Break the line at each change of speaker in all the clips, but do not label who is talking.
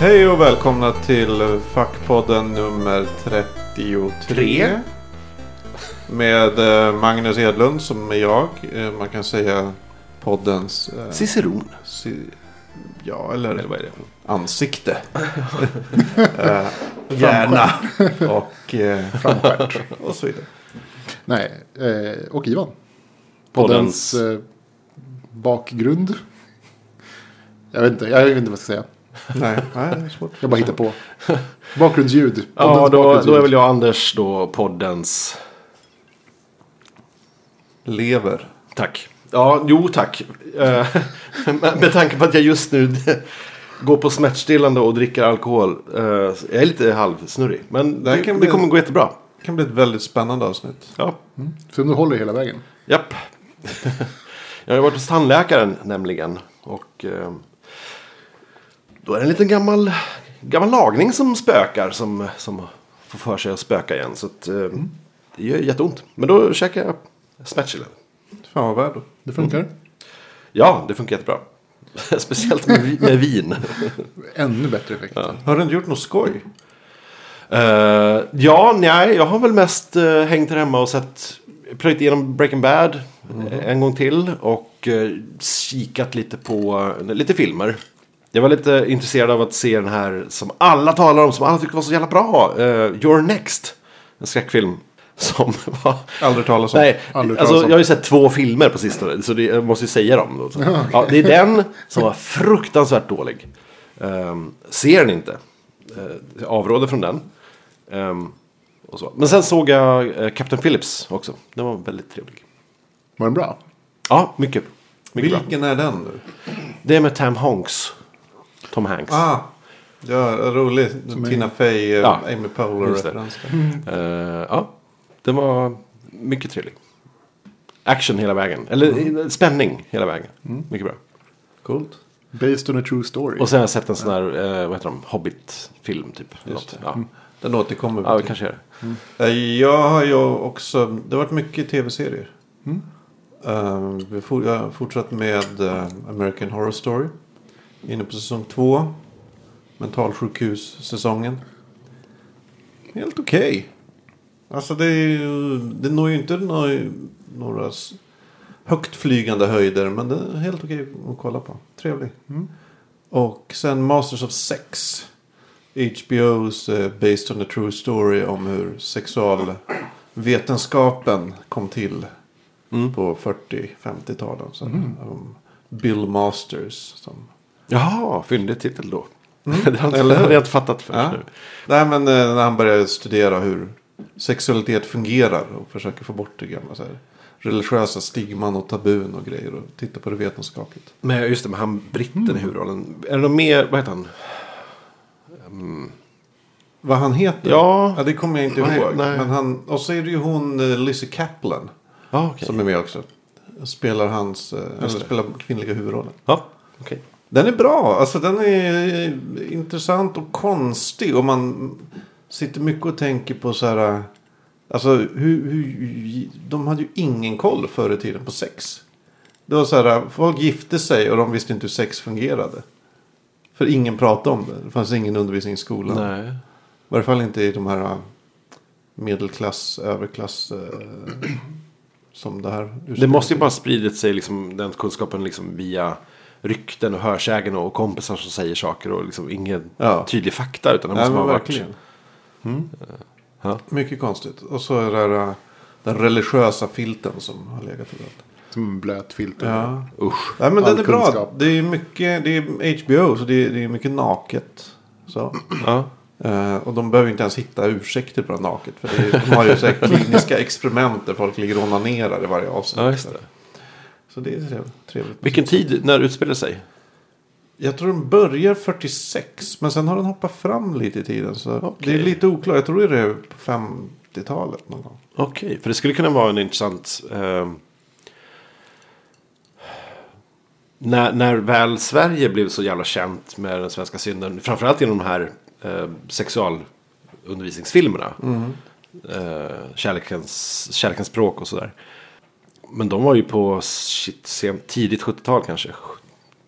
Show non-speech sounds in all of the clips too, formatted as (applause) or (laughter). Hej och välkomna till Fackpodden nummer 33.
Tre.
Med eh, Magnus Edlund som är jag. Eh, Man kan säga poddens... eh,
Ciceron.
si- ja, eller
Eller vad är det?
ansikte.
(laughs)
Eh, Hjärna. Och, eh,
Framskärt.
och så vidare.
Nej, eh, och Ivan.
Poddens-
Poddens eh, bakgrund. Jag vet inte, jag vet inte vad jag ska säga.
Nej, nej, det är svårt.
Jag bara
(laughs)
hittar på. Bakgrundsljud. Poddens
Ja, då, då
bakgrundsljud.
är väl jag Anders då, poddens...
Lever.
Tack. Ja, jo tack. Eh, (laughs) Med med tanke på att jag just nu (laughs) går på smärtstillande och dricker alkohol. eh, Jag är lite halvsnurrig. Men
Det
det,
här
det,
kan bli-
kommer gå jättebra.
Det kan bli ett väldigt spännande avsnitt.
Ja,
Så nu håller det hela vägen.
japp. (laughs) Jag har ju varit hos tandläkaren nämligen. Och eh, då är det en liten gammal, gammal lagning som spökar. Som, som får för sig att spöka igen. Så att, eh, det gör jätteont. Men då käkar jag smärtstillande.
Fan vad värd.
Det funkar.
Mm. Ja, det funkar jättebra. (laughs) Speciellt med, vi- med vin.
Ännu bättre effekt.
Har du inte gjort något skoj?
Eh, ja, nej, jag har väl mest eh, hängt här hemma och sett, plöjt igenom Breaking Bad
Mhm.
eh, en gång till och eh, kikat lite på eh, lite filmer. Jag var lite intresserad av att se den här som alla talar om, som alla tycker var så jävla bra. eh, You're Next. En skräckfilm som (laughs) var...
Aldrig talas om.
Nej,
Aldrig
alltså,
talas om.
jag har ju sett två filmer på sistone, så det, jag måste ju säga dem. Då. Så, ja, det är den som var fruktansvärt dålig. Ehm, ser den inte. Uh, avråder från den. Ehm, och så. Men sen såg jag eh, Captain Phillips också. Den var väldigt trevlig.
Var den bra?
Ja, mycket, mycket bra.
Vilken är den nu?
Det är med Tom Hanks. Tom Hanks.
Ah, ja, rolig. Tina Fey, eh,
Ja,
Amy
just det.
Powell-referens.
Eh, ja, den var mycket trevlig. Action hela vägen. Eller
Mm.
eh, spänning hela vägen. Mycket bra.
Coolt.
Based on a true story.
Och sen har jag sett en sån här, eh, vad heter de, Hobbit-film typ. Något. Ja.
Den återkommer vi
ja, vi
till.
kanske gör det.
Eh, Jag har ju också... Det har varit mycket tv-serier.
Mm.
Eh, vi for, jag har fortsatt med eh, American Horror Story. Inne på säsong två. Mentalsjukhus-säsongen. Helt okej. Alltså det, är ju, det når ju inte några, några s- högt flygande höjder. Men det är helt okej att kolla på. Trevlig.
Mm.
Och sen Masters of Sex. HBO's eh, Based on a True Story om hur sexualvetenskapen kom till
Mm.
på 40-50-talen. Så, Om Bill Masters. Som,
Jaha, fyndig titel då. (laughs) det har jag
eller hur?
inte- hade jag inte fattat först
ja.
nu.
Nej, men eh, när han började studera hur sexualitet fungerar och försöker få bort det gamla så här, religiösa stigman och tabun och grejer och titta på det vetenskapligt.
Men just det, med han britten i huvudrollen. Är det någon mer, vad heter han?
Vad han heter?
Ja.
det kommer jag inte
Nej,
ihåg.
nej.
Men han, och så är det ju hon eh, Lizzie Kaplan.
Ja, okej.
Som är med också. Spelar hans, eh, eller spelar kvinnliga huvudrollen.
Ja, okej.
Den är bra, alltså den är eh, intressant och konstig. Och man sitter mycket och tänker på så här. eh, Alltså hur, hur de hade ju ingen koll förr i tiden på sex. Det var så här, eh, folk gifte sig och de visste inte hur sex fungerade. För ingen pratade om det. Det fanns ingen undervisning i skolan.
Nej.
I varje fall inte i de här eh, medelklass, överklass. Eh, (clears throat) som det här.
Det måste ju bara spridit sig, liksom, den kunskapen, liksom, via rykten och hörsägen och kompisar som säger saker och liksom ingen
Ja.
tydlig fakta. Utan det
Ja,
måste
men
man ha varit... Mm.
verkligen. Eh,
Ja.
Mycket konstigt. Och så är det där, äh, den religiösa filten som har legat i allt.
Som en blöt filter.
Ja.
Usch.
Nej, men
All
den är bra.
kunskap.
Det är mycket, det är HBO så det är, det är mycket naket. Så.
Ja.
Eh, och de behöver inte ens hitta ursäkter på det naket. För det är, de har ju så
(laughs)
här kliniska experiment där folk ligger och onanerar i varje avsnitt.
ja, just det.
Så det är trev- trevligt.
Vilken tid, när utspelar det sig?
Jag tror den börjar 46 men sen har den hoppat fram lite i tiden. Så Det är lite oklart. Jag tror det är på 50-talet någon gång.
Okej, för det skulle kunna vara en intressant... ehm, när, när väl Sverige blev så jävla känt med den svenska synden, framförallt genom de här eh, sexualundervisningsfilmerna.
Mm,
Eh, kärlekens, kärlekens språk och sådär. Men de var ju på shit, sent, tidigt 70-tal kanske.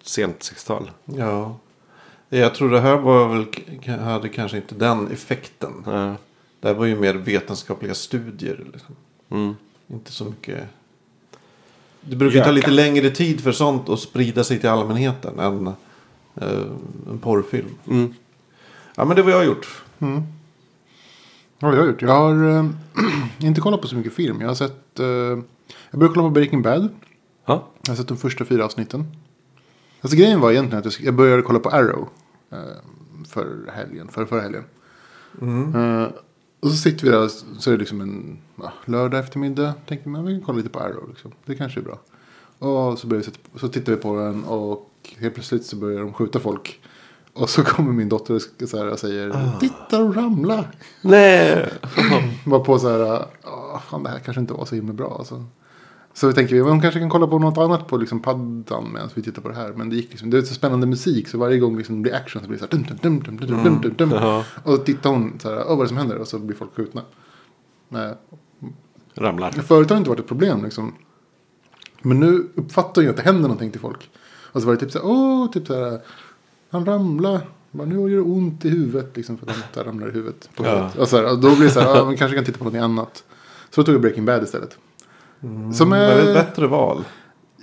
Sent 60-tal.
Ja. Jag tror det här var väl, k- hade kanske inte den effekten.
Eh,
Det här var ju mer vetenskapliga studier. Liksom.
mm.
Inte så mycket. Det brukar ju ta lite längre tid för sånt att sprida sig till allmänheten än eh, en porrfilm.
Mm.
Ja men det var jag har gjort.
Vad har jag gjort? Jag har eh, (clears throat) inte kollat på så mycket film. Jag har sett... eh, jag började kolla på Breaking Bad.
Ja.
Jag har sett de första fyra avsnitten. Alltså grejen var egentligen att jag, sk- jag började kolla på Arrow. Eh, för helgen, för förra helgen. Eh, och så sitter vi där så är det liksom en ja, lördag eftermiddag. Tänkte man vi kan kolla lite på Arrow liksom. Det kanske är bra. Och så, började vi, sätta- så tittar vi på den och helt plötsligt så börjar de skjuta folk. Och så kommer min dotter och sk- så här och säger titta och ramla.
Nej.
Var på så här, "Ah, fan det här kanske inte var så himla bra alltså. Så vi tänker, hon kanske kan kolla på något annat på liksom paddan medan vi tittar på det här. Men det gick liksom, det är så spännande musik så varje gång liksom det blir action så blir det så här dum, dum, dum, dum, dum, dum, dum, dum.
Ja.
Och då tittar hon så här, "Åh, vad är det som händer? Och så blir folk skjutna. Eh, Nej.
Ramlar.
Förut har det inte varit ett problem liksom. Men nu uppfattar jag att det händer någonting till folk. Och så var det typ så här, åh, typ så här, han ramlade. Bara, nu gör det ont i huvudet liksom för att han så här ramlar i huvudet. På
Ja.
huvudet. Och, så här, och då blir det så här, ja, man kanske kan titta på något annat. Så då tog jag Breaking Bad istället.
Mm.
Som
Det var ett
är...
bättre val.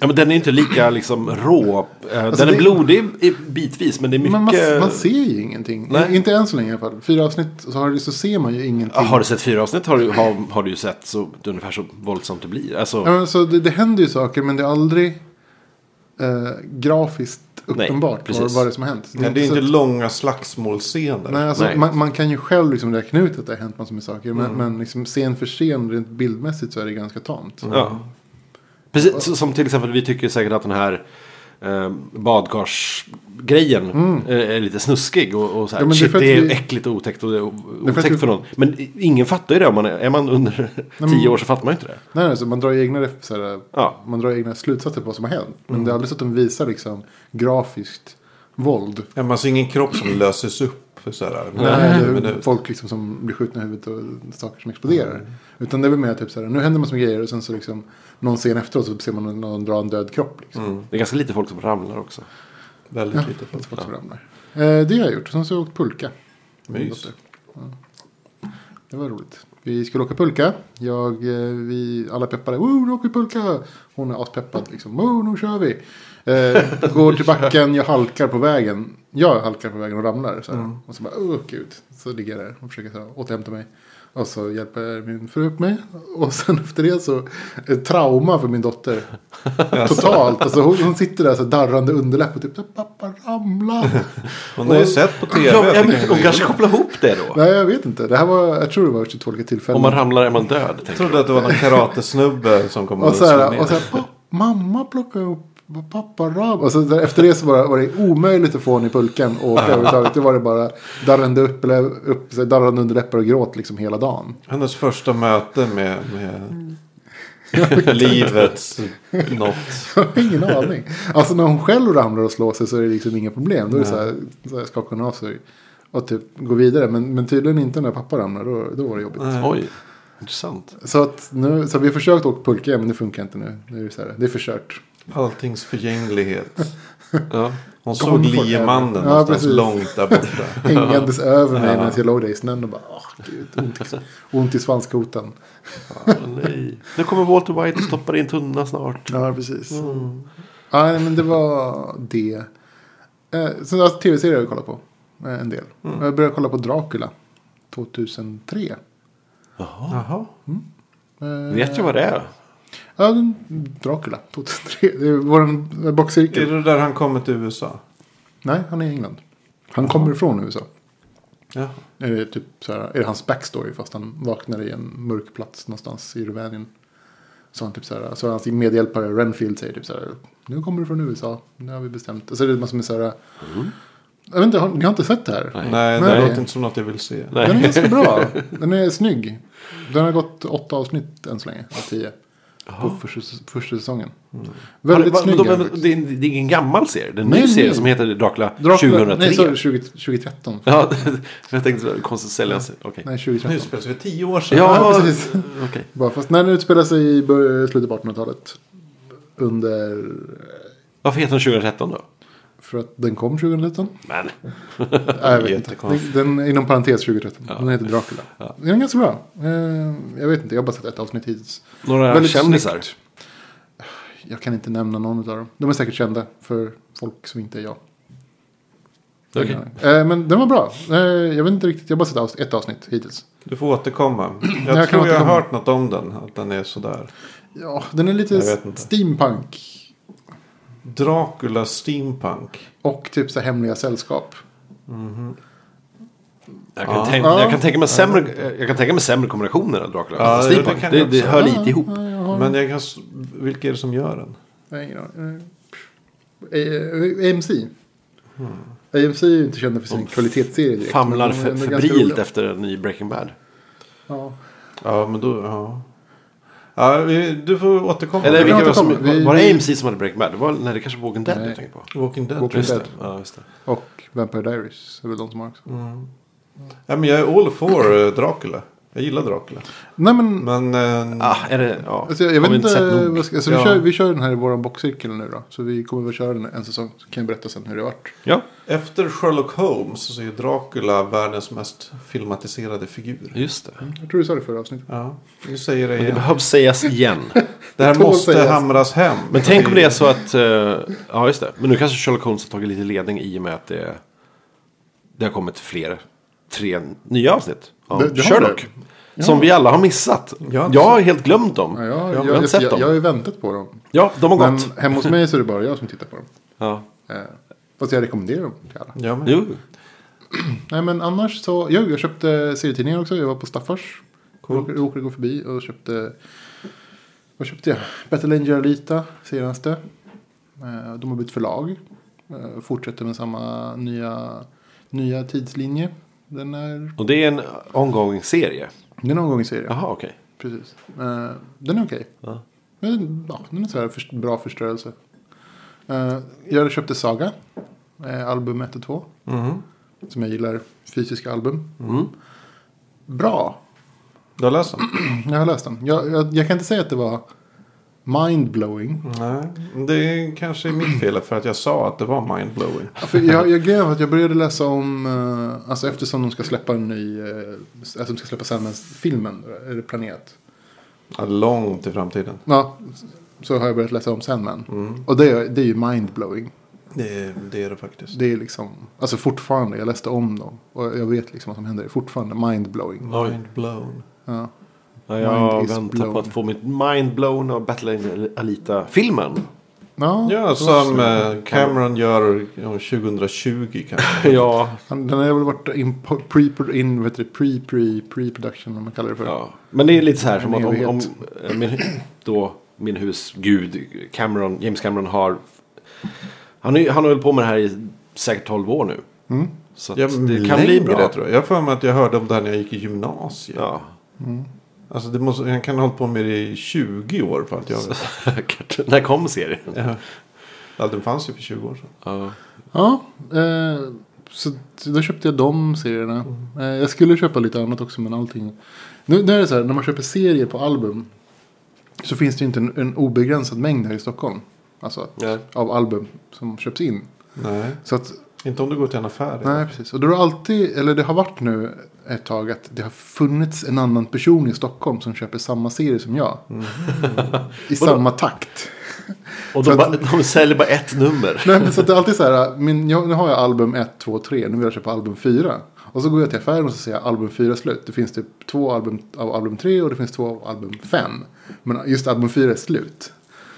Ja, men den är inte lika liksom rå. Eh,
Alltså,
den är
det-
blodig i- bitvis men det är mycket.
Men man, man ser ju ingenting.
Nej.
Inte än så länge i alla fall. Fyra avsnitt så, har, så ser man ju ingenting.
Ja, har du sett fyra avsnitt har du, har, har du ju sett så, ungefär så våldsamt det blir. Alltså,
Ja, men så det, det händer ju saker men det är aldrig eh, grafiskt
Nej,
uppenbart vad,
precis.
vad det är som har hänt.
Det är inte,
så-
långa slagsmålscener.
Nej, alltså,
Nej.
Man, man kan ju själv liksom räkna ut att det har hänt massor med saker. Men, men liksom scen för scen, rent bildmässigt, så är det ganska tamt.
Ja. Precis, så- som till exempel vi tycker säkert att den här eh, badkarsgrejen eh, är lite snuskig. Och, och så här,
Mm. Ja, men det är
shit,
för att
det är
vi-
äckligt och otäckt och det är o-
för att
otäckt
vi-
för någon. Men i- ingen fattar ju det. Om man är, är man under (laughs) tio år så fattar man ju inte det.
Nej, alltså, man, drar ju egna, ref- så här,
Ja.
man drar egna slutsatser på vad som har hänt. Men det är aldrig så att de visar liksom, grafiskt våld.
Ja, man ser ingen kropp som löses upp. Så här.
Nej,
Men
det
det-
är folk liksom som blir skjutna i huvudet och saker som exploderar. Utan det är väl mer typ så här, nu händer massor med grejer och sen så liksom någon scen efteråt så ser man någon dra en död kropp. Liksom.
Det är ganska lite folk som ramlar också.
Väldigt
Ja,
lite folk.
alltså folk som ramlar. Eh, det har jag gjort, sen så har jag åkt pulka.
Mys.
Ja. Det var roligt. Vi skulle åka pulka. Jag, eh, vi alla peppade. Woo, nu åker vi pulka! Hon är aspeppad. Liksom. Woo, nu kör vi! Eh, går till backen, jag halkar på vägen. Jag halkar på vägen och ramlar. Så här.
Mm.
Och så bara, åh gud. Så ligger jag där och försöker så här, återhämta mig. Och så hjälper min fru upp mig. Och sen efter det så, ett trauma för
(laughs)
min dotter. Totalt. Alltså hon, hon sitter där så här, darrande underläpp och typ, så här, pappa ramla.
Hon har ju sett på tv.
Ja,
att det
men
kan
de
bli-
kanske kopplar ihop det då.
Nej, jag vet inte. Det här var, jag tror det var 22 olika tillfällen.
Om man ramlar är man död.
Jag
tänker jag.
trodde att det var någon karatesnubbe som kom
och
och
så
slog
här, och så
ner.
här, "Åh, mamma plockade upp pappa ram. Och så där, efter det så bara, var det omöjligt att få hon i pulken och
(laughs)
åka överhuvudtaget. Det var det bara darrande, upp, eller upp, så här, darrande under läppar och gråt liksom hela dagen. (laughs)
Hennes första möte med,
Mm. (laughs)
med livets något.
Jag har
(laughs)
ingen aning. Alltså när hon själv ramlar och slår sig så är det liksom inga problem. Då är det så här, så här skakar hon av sig. Och typ gå vidare. Men, men tydligen inte när pappa ramlar. Då, då var det jobbigt.
Oj, intressant.
Så, att nu, så vi har försökt åka pulka men det funkar inte nu. nu är det, så här, det är förkört.
Alltings förgänglighet.
Ja.
Hon såg
forever.
liemannen
Ja,
någonstans
precis.
långt där
(laughs)
borta.
hängandes över mig medan jag låg där i snön och bara åh gud, ont, i- ont i svanskotan.
nej. Nu kommer Walter White och stoppar in tunna snart.
Ja, precis. Mm. Ja, nej, men det var det. Eh, sen alltså, tv-serier har jag kollat på eh, en del. Jag började kolla på Dracula 2003.
Jaha.
Eh,
Vet jag vad det är?
Ja, den- Dracula 2003. Det är vår
Är
boxcirkel.
det där han kommer till USA?
Nej, han är i England. Han kommer ifrån USA.
Ja.
Är det, typ så här, är det hans backstory fast han vaknar i en mörk plats någonstans i Rumänien. Så han typ så här, så hans medhjälpare Renfield säger typ så här, nu kommer du från USA, nu har vi bestämt. Och så är det massor med så här, jag vet inte, har, ni har inte sett det här?
Mm. Nej.
Nej,
Nej.
det låter inte som något jag vill se.
Nej.
Den är
(laughs)
ganska bra, den är snygg. Den har gått åtta avsnitt än så länge, av tio. På första, första säsongen. Väldigt
Mm. Har det-
snygg.
vadå, men
är den.
det, är, det är ingen gammal serie. Det är en
Nej,
ny
nej.
serie som heter Dracula,
Dracula,
2003.
nej, sorry, 20, 2013.
Ja, (laughs) jag tänkte så här, konstigt att sälja sig. Okej.
Nej,
Nu
2013.
spelas för tio år sedan.
Ja,
Ja,
precis.
precis.
Okej.
Bara, fast när den utspelar sig i eh, bör- slutet på 1800-talet. Under...
Varför heter den 2013 då?
För att den
(laughs)
kom 2013.
Men.
Nej, jag vet inte.
Jättekonstigt.
Den, den, inom parentes 2013. Den heter Dracula. Den är ganska bra. Eh, jag vet inte, jag har bara sett ett avsnitt hittills.
Några
Väldigt
kändisar.
snyggt. Jag kan inte nämna någon av dem. De är säkert kända för folk som inte är jag.
Okej.
Eh, men den var bra. Eh, jag vet inte riktigt, jag har bara sett avs- ett avsnitt hittills.
Du får
(clears throat)
återkomma. Jag,
Jag kan
tror jag har
återkomma.
hört något om den. Att den är sådär.
Ja, den är lite
Jag vet inte.
steampunk.
Dracula Steampunk.
Och typ så här hemliga sällskap.
Jag kan,
Ja.
tänka,
Ja.
jag, kan tänka mig sämre, jag kan tänka mig sämre kombinationer än
Ja,
Dracula. Ja,
det- det
Steampunk.
kan
Det, det,
jag också.
hör lite ihop.
Ja, jag har
Men jag kan... s- vilka är det som gör den?
Nej, ingen aning. Eh, eh, AMC. AMC är ju inte kända för sin kvalitetsserie
Hmm.
direkt.
Famlar
men de är
fe-
ändå ganska
febrilt
roliga.
efter en ny Breaking Bad.
Ja.
Ja, men då... Ja. Ja, vi, du får återkomma.
Eller vilka var, det som,
återkommer. Vi-
var
vi-
det AMC som hade Breaking Bad? Det var, nej, det kanske var Walking Dead
Nej.
du tänkte på.
Walking Dead.
Walking
Just det.
Dead.
Ja, just det.
Och Vampire Diaries är väl de som har också.
Mm.
Ja, men jag är all for eh, Dracula. Jag gillar Dracula.
Nej men.
Men... eh,
Ah, är det, ja.
Alltså, jag
Har
vet
vi
inte.
sett nog?
vad ska, alltså,
Ja.
vi, kör, vi kör den här i vår boxcirkel nu då. Så vi kommer väl köra den en säsong. Så kan jag berätta sen hur det vart.
Ja,
Efter Sherlock Holmes så är ju Dracula världens mest filmatiserade figur.
just det.
Jag tror du sa det i förra avsnittet.
Ja, vi säger det
Men det
igen.
behövs sägas
(laughs)
igen.
Det här
tål
måste
sägas.
hamras hem.
Men tänk om det är så att... eh, ja, just det. Men nu kanske Sherlock Holmes har tagit lite ledning i och med att det, det har kommit fler, tre nya avsnitt av
Det- det har
Sherlock. Som vi alla har missat.
Jag har
Jag,
inte
har helt glömt dem.
Ja,
Mm. jag,
jag,
har
jag,
inte
jag,
sett
jag,
dem.
jag har ju väntat på dem.
ja, de har
Men
gått.
hemma hos mig så är det bara jag som tittar på dem.
Ja.
Eh, fast jag rekommenderar dem till alla.
Ja, men,
Jo.
Nej men annars så, jo, jag köpte serietidningar också. Jag var på Staffars.
Coolt.
Råkade, råkade gå förbi och köpte, vad köpte jag? Battle Angel Alita, senaste. Eh, De har bytt förlag. Eh, Fortsätter med samma nya, nya tidslinje. Den är,
Och det är en ongoing serie.
det är någon gång i serien.
Jaha, okej.
Precis. Eh, Den är okej.
Ja.
Men, ja, den är så här först- bra förstörelse. Eh, Jag köpte Saga. eh, Album 1 och 2.
Mhm.
Som jag gillar. Fysiska album.
Mm.
Bra.
Du har läst den?
Jag har läst den. Jag, jag, jag kan inte säga att det var mindblowing.
Nej, det kanske är mitt fel för att jag sa att det var mindblowing.
För jag, jag grejen var att jag började läsa om, eh, alltså eftersom de ska släppa en ny, eh, alltså de ska släppa Sandman-filmen, eller Planet.
Ja, Långt i framtiden.
Ja, så har jag börjat läsa om Sandman. Och det, är- det är ju mindblowing.
Det, är- det är det faktiskt.
Det är liksom, alltså fortfarande, jag läste om dem. Och jag vet liksom vad som händer, det är fortfarande
Mm.
mindblowing.
Mindblown.
Ja.
Ja, jag har
Mind is
väntat
blown.
på att få mitt mind blown av Battle Angel Alita-filmen.
Ja,
Ja, som eh, Cameron gör om 2020 kanske.
(laughs) ja.
han- den har väl varit in, pre, in, vad heter det, pre, pre, pre-production, om man kallar det för.
Ja. Men det är lite så här som
En
att om, om
evighet.
eh, min, då min husgud Cameron, James Cameron har... Han, är, han har hållit på med det här i säkert 12 år nu.
Mm.
Så att
Ja,
det kan bli bra.
tror jag. Jag har för mig att jag hörde om det här när jag gick i gymnasiet.
Ja, (laughs)
Alltså det måste, han kan ha hållit på med det i 20 år för allt jag vet.
säkert. När kom serien?
(laughs) Ja. Ja, den fanns ju för 20 år sedan.
Ja.
Ja, eh, så då köpte jag de serierna. Eh, jag skulle köpa lite annat också men allting. Nu, nu är det så här, när man köper serier på album. Så finns det ju inte en, en obegränsad mängd här i Stockholm. Alltså
Nej.
av album som köps in.
Nej,
Så att,
inte om du går till en affär.
nej precis. Och då har det alltid, eller det har varit nu ett tag att det har funnits en annan person i Stockholm som köper samma serie som jag. I samma takt.
Och
Så
de,
att-
bara, de säljer bara ett nummer.
Nej, men så att det är alltid så här, min, jag, nu har jag album 1, 2, 3, nu vill jag köpa album 4. Och så går jag till affären och så säger jag album 4 är slut. Det finns typ två album av album 3 och det finns två av album 5. Men just album 4 är slut.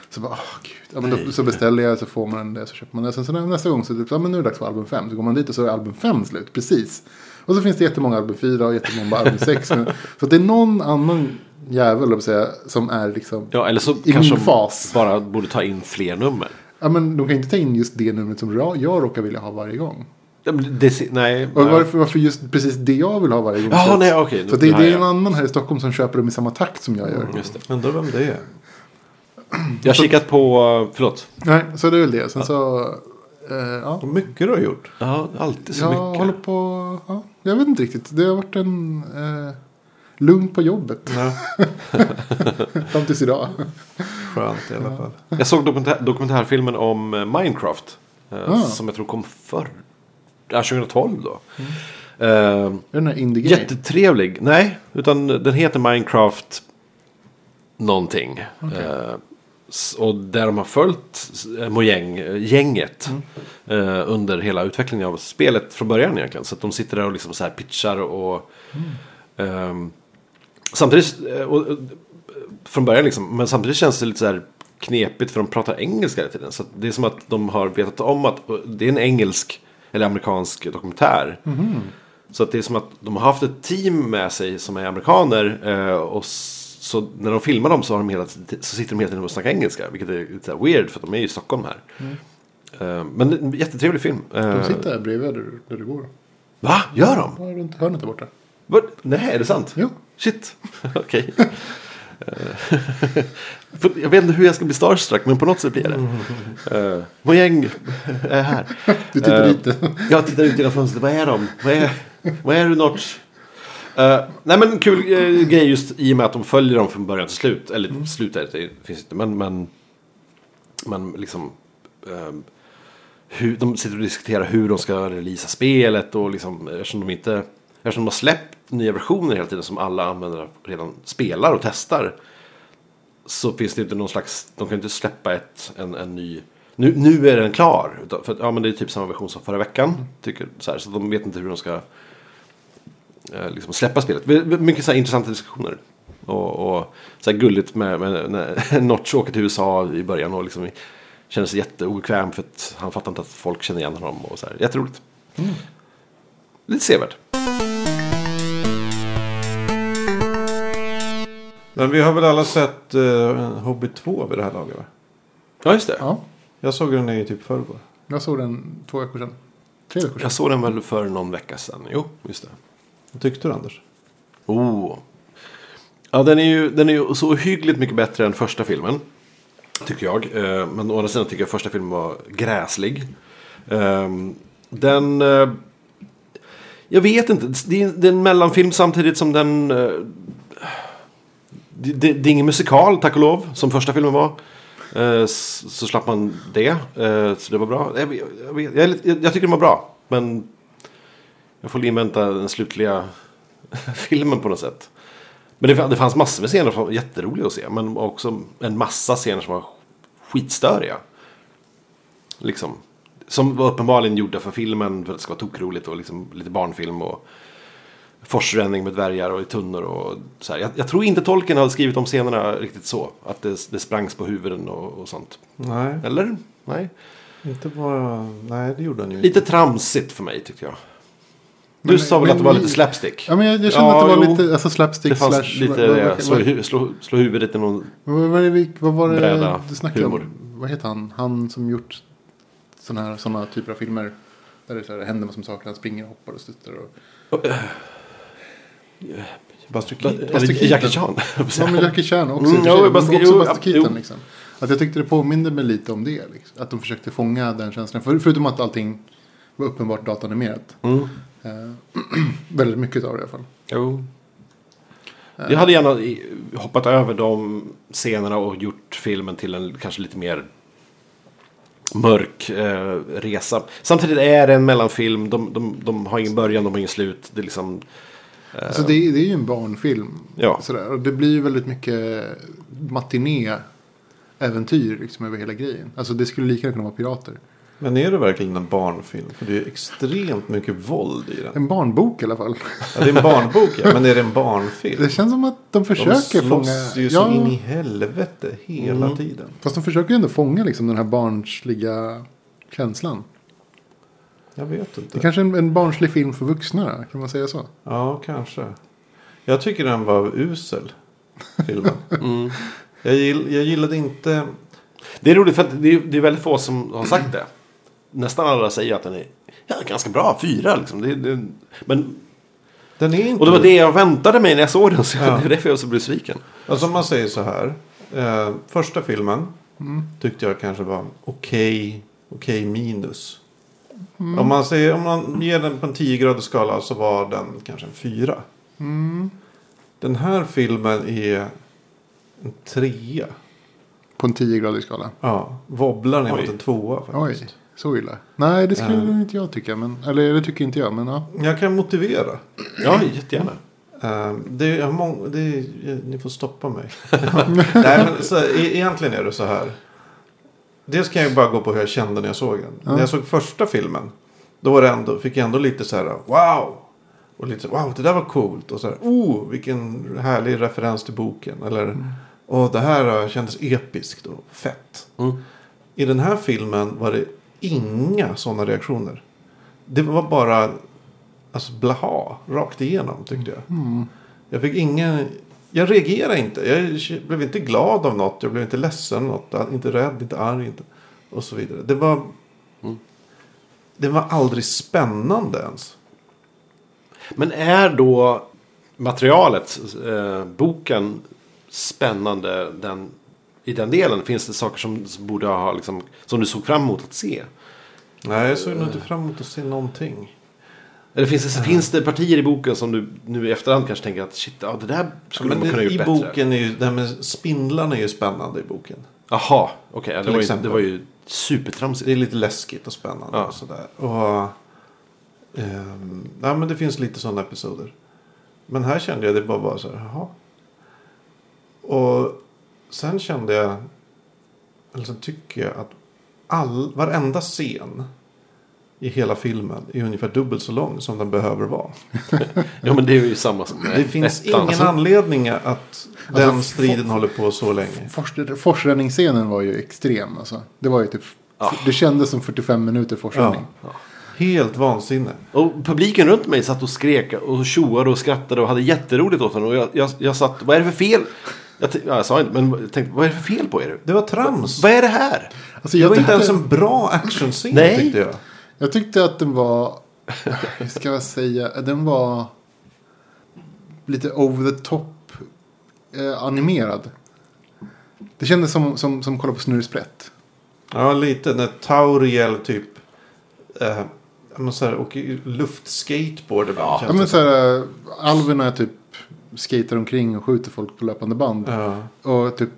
Så bara, åh gud. Ja, men då, så beställer jag, så får man den, där, så köper man den. Sen så nä- nästa gång så typ, ja, men nu är det dags för album 5. Så går man dit och så är album 5 slut, precis. Och så finns det jättemånga album 4 och jättemånga album 6. Men, så att det är någon annan jävel, höll jag på att säga, som är liksom...
Ja, eller så
min
kanske de
fas.
bara borde ta in fler nummer.
Ja, men de kan inte ta in just det numret som jag, jag råkar vilja ha varje gång.
Ja, men Det, nej.
Och varför, varför just precis det jag vill ha varje gång?
Ja,
köps?
nej, okej.
Så det,
Nu har
det är
jag-
en annan här i Stockholm som köper dem i samma takt som jag gör.
Mm, Just det.
Undrar vem det är.
Jag har kikat på, förlåt.
Nej, så det är väl det. Sen så... Eh, ja.
Vad mycket du har gjort.
Ja, alltid så
Jag
mycket.
håller på... Ja, jag vet inte riktigt. Det har varit en... Eh, lugn på jobbet. (laughs)
Ja,
Fram tills idag.
skönt i alla fall.
Jag såg dokumentär, dokumentärfilmen om eh, Minecraft. Eh,
Ah.
Som jag tror kom förr. Ja, 2012 då. Eh,
Är den här indie Game?
Jättetrevlig. Nej, utan den heter Minecraft någonting. Eh, s- och där de har följt s- eh, Mojang, gänget eh, under hela utvecklingen av spelet från början egentligen. Så att de sitter där och liksom så här pitchar och... ehm, samtidigt... eh, Och, och, från början liksom, men samtidigt känns det lite så här knepigt för de pratar engelska hela tiden. Så att det är som att de har vetat om att och det är en engelsk eller amerikansk dokumentär.
Mm-hmm.
Så att det är som att de har haft ett team med sig som är amerikaner. Eh, och s- så när de filmar dem så, har de hela, t- så sitter de hela tiden och snackar engelska. Vilket är lite så här weird för att de är ju i Stockholm här. Eh, men det är en jättetrevlig film. Eh,
Mm. De sitter här bredvid där du, där du går.
Va? Gör de?
Ja, runt hörnet där borta.
Vad? Nej, är det sant?
Jo.
Shit, (laughs) okej. Eh, (laughs) för jag vet inte hur jag ska bli starstruck, men på något sätt blir jag det.
(laughs)
Uh, Mojang är här.
Du tittar (laughs)
Eh,
dit.
Jag tittar ut genom fönstret, vad är de? Vad är, vad är du Notch? Eh, nej men kul eh, grej just i och med att de följer dem från början till slut. Eller slut är det, det finns inte, men... Men, men liksom... ehm, hur, de sitter och diskuterar hur de ska releasa spelet och liksom, eftersom de inte... Eftersom de har släppt nya versioner hela tiden som alla användare redan spelar och testar. Så finns det inte någon slags, de kan inte släppa ett, en, en ny... Nu, nu är den klar. utan- För att, ja men det är typ samma version som förra veckan. Tycker, så, här, så de vet inte hur de ska eh, liksom släppa spelet. Vi- vi- Mycket så här intressanta diskussioner. Och, och så här gulligt med, med (laughs) när Notch åker till USA i början och liksom känner sig jätteobekväm för att han fattar inte att folk känner igen honom. Och så här. Jätteroligt. Lite sevärt.
Men vi har väl alla sett eh, Hobbit 2 vid det här laget va?
Ja, just det.
Ja,
Jag såg den i typ förrgår.
jag såg den två veckor sedan. Tre veckor sedan.
Jag såg den väl för någon vecka sedan. Jo, just det.
Vad tyckte du Anders?
Oh. Ja, den är ju, den är ju så hyggligt mycket bättre än första filmen. Tycker jag. Eh, Men å andra sidan tycker jag första filmen var gräslig. Ehm, Den... eh, Jag vet inte. Det är, det är en mellanfilm samtidigt som den... eh, Det, det, det är ingen musikal, tack och lov, som första filmen var. Eh, s- Så slapp man det. Eh, Så det var bra. Jag, vet- jag, vet- jag, är lite- jag tycker den var bra. Men jag får invänta den slutliga filmen på något sätt. Men det, det fanns massor med scener som var jätteroliga att se. Men också en massa scener som var skitstöriga. Liksom. Som var uppenbarligen gjorda för filmen för att det ska vara tokroligt och liksom lite barnfilm och forsränning med dvärgar och i tunnor och så här. Jag, jag tror inte tolken hade skrivit om scenerna riktigt så. Att det, det sprangs på huvuden och, och sånt.
Nej,
Eller? Nej.
inte bara... Nej, det gjorde den ju inte.
Lite tramsigt för mig tyckte jag. Du
Men-
sa väl
men
att det var
vi-
lite slapstick?
Ja, men jag, jag kände
Ja,
att det var
jo.
lite alltså slapstick
Det fanns
slash...
lite
vad, vad,
det,
vad,
slå, hu- slå, slå huvudet i någon...
vad, vad, är det- vad var det
Bräda,
du snackade
humor.
om? Vad heter han? Han som gjort sådana här såna typer av filmer. Där det, så här, det händer vad som saker. Han springer och hoppar och stöttar.
(laughs)
Och...
Buster Keaton.
Buster
Eller
Keaton.
Jackie Chan.
Ja, men Jackie Chan också.
Mm,
i och
jo,
för sig,
jag bara
men
ska-
också
jo,
Buster
ab-
Keaton.
jo.
Liksom. Att jag tyckte det påminde mig lite om det. Liksom. Att de försökte fånga den känslan. För, förutom att allting var uppenbart datanimerat.
Mm.
Eh, (clears throat) väldigt mycket av det i alla fall.
Jo. Jag hade gärna i- hoppat över de scenerna och gjort filmen till en kanske lite mer mörk eh, resa. Samtidigt är det en mellanfilm. De, de, de har ingen början, de har ingen slut. Det är liksom...
Alltså det, är- det är ju en barnfilm.
Ja.
Sådär. Och det blir ju väldigt mycket matiné-äventyr liksom, över hela grejen. Alltså det skulle lika gärna kunna vara pirater.
Men är det verkligen en barnfilm? För det är ju extremt mycket våld i den.
En barnbok i alla fall.
Ja, det är en barnbok ja, men är det en barnfilm?
Det känns som att de
De
försöker
slåss
fånga... Mm.
ju så in i helvete hela tiden.
Fast de försöker ju ändå fånga liksom, den här barnsliga känslan.
Jag vet
Det
inte.
är kanske är en, en barnslig film för vuxna, kan man säga så?
Ja, kanske. Jag tycker den var usel. Filmen.
Mm.
jag, gill, jag gillade inte...
Det är roligt för att det är, det är väldigt få som har sagt det. Nästan alla säger att den är ja, ganska bra, fyra liksom. Det, det, men,
Den är inte...
och det var det jag väntade mig när jag såg den. Så
Ja.
Det är därför jag så blev besviken.
Alltså om man säger så här. Eh, första filmen tyckte jag kanske var okej, okej minus. Om, man säger, om man ger den på en 10-gradig skala så var den kanske en 4. Den här filmen är en 3.
På en 10-gradig skala.
Ja, wobblar ner
Oj.
mot en 2 faktiskt.
Oj, Så illa? Nej, det skulle inte jag tycka. Men, eller det tycker inte jag, men ja.
Jag kan motivera.
Ja, jättegärna.
Eh, Det är mång- det är, ni får stoppa mig. (laughs) Nej, men så, e- egentligen är det så här. Dels kan jag bara gå på hur jag kände när jag såg den. När jag såg första filmen. Då var det ändå, fick jag ändå lite så här wow. Och lite så, wow det där var coolt. Och så här oh vilken härlig referens till boken. Eller åh det här eh, kändes episkt och fett.
Mm.
I den här filmen var det inga sådana reaktioner. Det var bara alltså, blaha rakt igenom tyckte jag.
Mm.
Jag fick ingen... Jag reagerade inte. Jag k- blev inte glad av något. Jag blev inte ledsen av något. Inte rädd, inte arg. Inte, och så vidare. Det var...
Mm.
Det var aldrig spännande ens.
Men är då materialet, eh, boken, spännande den, i den delen? Finns det saker som, som borde ha, liksom, som du såg fram emot att se?
Nej, jag såg nog inte fram emot att se någonting.
Eller finns det, finns det partier i boken som du nu i efterhand kanske tänker att shit, ja, det där skulle
Men
man kunna
det,
gjort
i
bättre?
boken är ju... Det här med spindlarna är ju spännande i boken.
Jaha, okej. ja, det,
Till
var ju- det
exempel.
var ju supertramsigt.
Det är lite läskigt och spännande
Ja.
och sådär. Och, ehm, ja, men det finns lite sådana episoder. Men här kände jag det bara var så här, jaha. Och sen kände jag, eller sen tycker jag att all, varenda scen i hela filmen är ungefär dubbelt så lång som den behöver vara.
Ja, men det är ju samma som
Det finns
ettan. alltså.
ingen anledning att den
Alltså,
striden
fo-
håller på så länge.
Fors- Forsränningsscenen var ju extrem alltså. Det var ju typ...
Ah.
Det kändes som 45 minuter forsränning.
Helt vansinne.
Och publiken runt mig satt och skrek och tjoade och skrattade och hade jätteroligt åt den. Och jag, jag, jag satt, vad är det för fel? Jag, t- ja, jag sa inte, men jag tänkte, vad är det för fel på er?
Det var trams.
Vad är det här?
Alltså,
Det
jag,
var inte
tyckte,
ens en bra actionscen
Nej.
tyckte jag.
jag tyckte att den var... Hur ska jag säga? Den var lite over the top eh, animerad. Det kändes som, som, som att kolla på Snurresprätt.
Ja, lite. När Tauriel typ... Eh, ja, men så här, åker luftskateboard ibland.
Ja,
känns
men
det
så här, eh, alverna typ skater omkring och skjuter folk på löpande band.
som. ja.
Och typ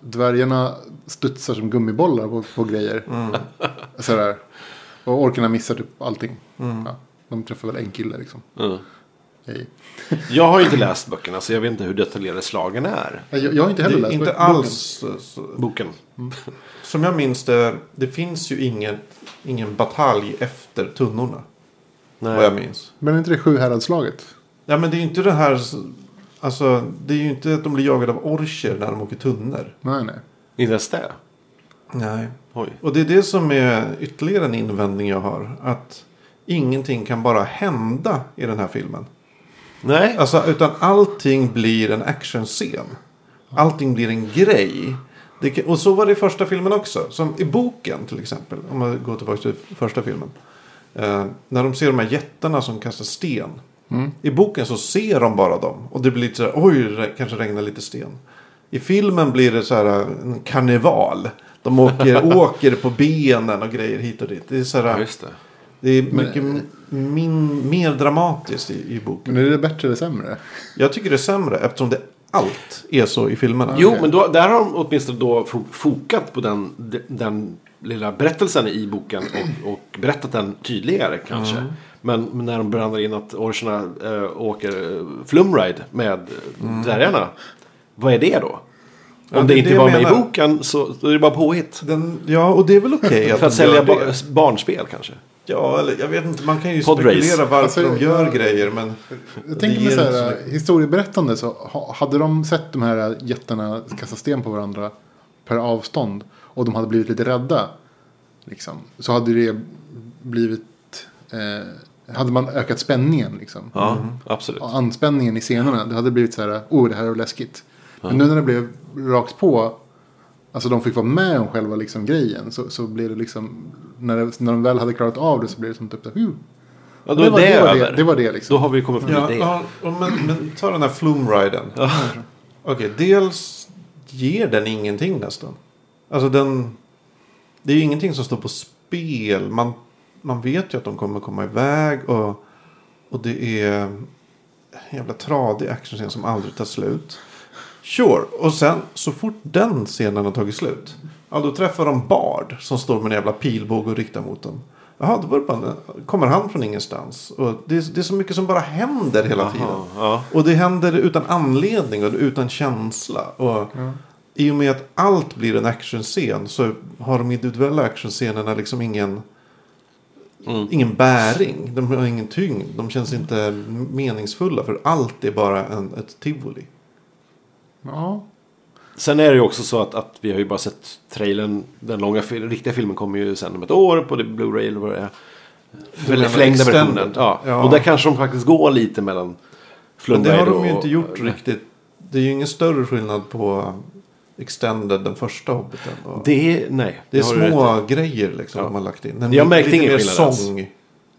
dvärgarna studsar som gummibollar på, på grejer.
Mm.
(laughs) Så där. Och orkarna missar typ allting.
Mm.
Ja, de träffar väl en kille liksom. Hej.
Jag har ju inte läst böckerna så jag vet inte hur detaljerade slagen är.
Nej, Jag, jag har inte heller
Det är
läst
inte
boken.
alls... Så, så,
Boken.
som jag minns det, det finns ju ingen, ingen batalj efter tunnorna. Vad jag minns.
Men är inte det Sjuhäradsslaget?
Ja, men det är ju inte det här... Alltså, det är ju inte att de blir jagade av orcher när de åker tunnor.
Nej, nej.
Inte ens det?
Nej.
Oj.
Och det är det som är ytterligare en invändning jag har. Att ingenting kan bara hända i den här filmen.
Nej.
Alltså, utan allting blir en actionscen. Allting blir en grej. Det, kan- och så var det i första filmen också. Som i boken till exempel. Om man går tillbaka till första filmen. Eh, när de ser de här jättarna som kastar sten.
Mm.
I boken så ser de bara dem. Och det blir lite så här, oj, det kanske regnar lite sten. I filmen blir det så här eh, en karneval. De
(laughs)
åker, åker på benen och grejer hit och dit. Det är, så
Ja,
här,
just det.
det är mycket min, mer dramatiskt i, i boken.
Men är det bättre eller sämre?
Jag tycker det är sämre eftersom det allt är så i filmerna.
Jo, men då, där har de åtminstone då fo- fokat på den, de- den lilla berättelsen i boken och, och berättat den tydligare kanske.
Mm.
Men, men när de blandar in att orcherna äh, åker äh, flumride med äh, dvärgarna, vad är det då? Om
Mm. Ja,
det,
det är
inte
det
var
jag
med i
menar.
boken så, så är det bara påhitt.
Den, ja, och det är väl okej
(laughs) För att
de gör
sälja
det.
ba- barnspel kanske.
Ja, eller jag vet inte. Man kan ju
Podrace.
spekulera varför
Alltså,
de gör grejer. Men
Jag tänker
ger
mig så
inte så
här,
mycket.
historieberättande så ha- hade de sett de här jättarna kasta sten på varandra per avstånd och de hade blivit lite rädda. Liksom, så hade det blivit, eh, hade man ökat spänningen liksom.
Ja, absolut.
Och anspänningen i scenerna, det hade blivit så här, oh det här är läskigt. Men nu när det blev rakt på, alltså de fick vara med om själva liksom, grejen så, så blev det liksom, när, det, när de väl hade klarat av det så blev det som typ, uh,
Ja, då är det,
var det, var
över.
det, det var det liksom.
Då har vi kommit förbi
ja,
det.
ja, och men, men ta den här flumriden. Okej, dels ger den ingenting nästan. Alltså den... Det är ju ingenting som står på spel. Man, man vet ju att de kommer komma iväg och, och det är en jävla tradig actionscen som aldrig tar slut. Sure. Och sen så fort den scenen har tagit slut. Ja, då träffar de Bard som står med en jävla pilbåge och riktar mot dem. Jaha, då var det bara, kommer han från ingenstans. Och det, är, det är så mycket som bara händer hela tiden.
Aha, ja.
Och det händer utan anledning och utan känsla. Och I och med att allt blir en actionscen så har de individuella actionscenerna liksom ingen,
Mm.
ingen bäring. De har ingen tyngd. De känns inte meningsfulla för allt är bara en, ett tivoli.
Ja.
Sen är det ju också så att, att vi har ju bara sett trailern. Den långa fil- den riktiga filmen kommer ju sen om ett år på det Blu-ray eller vad det är. Eller
menar
förlängda
extended?
versionen. Ja.
Ja.
Och där kanske de faktiskt går lite mellan
Men det
Flundberg
har de ju
och-
inte gjort riktigt. Det är ju ingen större skillnad på Extended, den första Hobbiten. Och det,
Det, nej.
är
har du rätt i.
små grejer liksom
Ja.
de har lagt in. En
Jag märkte
lite
ingen
mer
skillnad alls.
sång,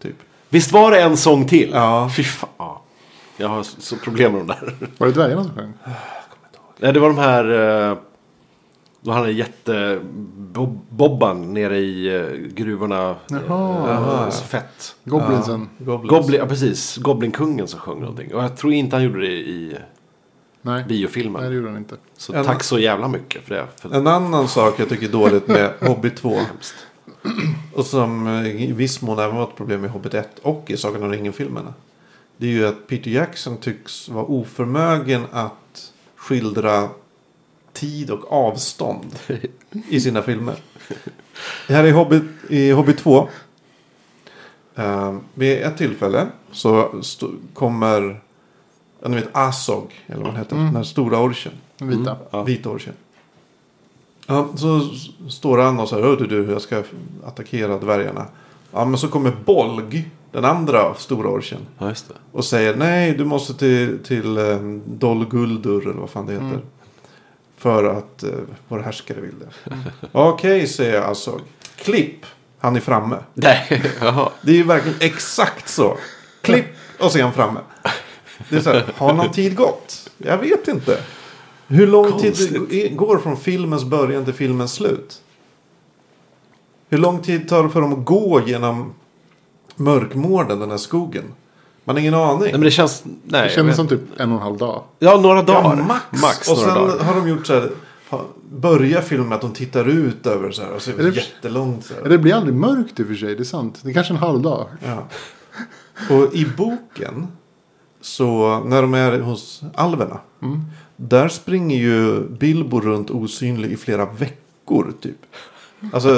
typ.
Visst var det en sång till?
Ja.
Fy fan. Ja. Jag har så så problem med de där. (laughs)
Var det dvärgarna som sjöng?
Nej, det var de här... eh, Då han är jätte... Bob- Bobban nere i eh, gruvorna.
Jaha.
Jaha. Så fett.
Goblinsen?
Goblins.
Goblin, ja, precis. Goblinkungen som sjöng någonting. Och jag tror inte han gjorde det i
Nej.
biofilmen.
Nej, det gjorde han inte.
Så
En-
tack så jävla mycket för det. För
En annan sak jag tycker är dåligt med (laughs) Hobbit 2. Och som eh, i viss mån även var ett problem med Hobbit 1 och i Sagan om ringen-filmerna. Det är ju att Peter Jackson tycks vara oförmögen att skildra tid och avstånd i sina filmer. Här i Hobbit, i Hobbit 2. Eh, vid ett tillfälle så sto- kommer ja, ni vet Asog, eller vad han heter, den här stora orchen.
Den vita.
Ja.
Vita orchen. Ja, så s- står han och så här, "Hör du, du, jag ska attackera dvärgarna. Ja, men så kommer Bolg, den andra stora orchen.
Ja, just det.
Och säger, nej, du måste till, till eh, Dol Guldur, eller vad fan det heter. För att eh, vår härskare vill det. (laughs) Okej, säger Asog. Klipp, han är framme. (laughs)
Nej, jaha.
Det är ju verkligen exakt så. Klipp och sen framme. Det är så här, har någon tid gått? Jag vet inte. Hur lång tid
Konstigt.
det går från filmens början till filmens slut? Hur lång tid tar det för dem att gå genom mörkmården, den här skogen? Man har ingen aning.
Nej, men det känns... Nej,
Det
jag
kändes
vet-
som typ en och en halv dag.
Ja, några dagar.
Ja, max.
max
och
några
sen
dagar.
har de gjort så här. ha- Börjar filmen med att de tittar ut över så här. Och så är det
Är det-
jättelångt så här.
Det blir aldrig mörkt i och för sig, det är sant. Det är kanske en halv dag.
Ja. Och i boken, så när de är hos alverna,
Mm.
där springer ju Bilbo runt osynlig i flera veckor typ. Alltså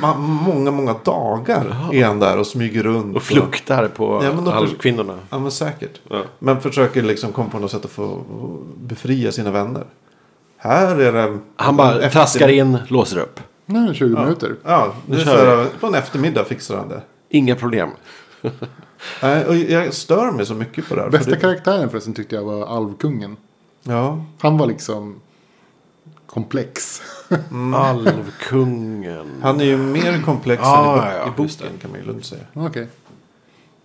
ma- många, många dagar är han där och smyger runt.
Och fluktar på
Ja, men de-
halvkvinnorna.
Ja men säkert.
Ja.
Men försöker liksom komma på något sätt att få befria sina vänner. Här är det...
Han bara
efter-
traskar in, låser upp.
Nej, 20 minuter.
Ja, det är så
kör
här, på en eftermiddag fixar han det.
Inga problem.
Nej, Och jag stör mig så mycket på det här. för
Bästa
det,
karaktären förresten tyckte jag var Alvkungen.
ja,
Han var liksom komplex.
Mm.
Alvkungen.
Han är ju mer komplex
Ja,
än i, bo-
ja,
i
just
boken kan man ju lugnt säga.
Okej.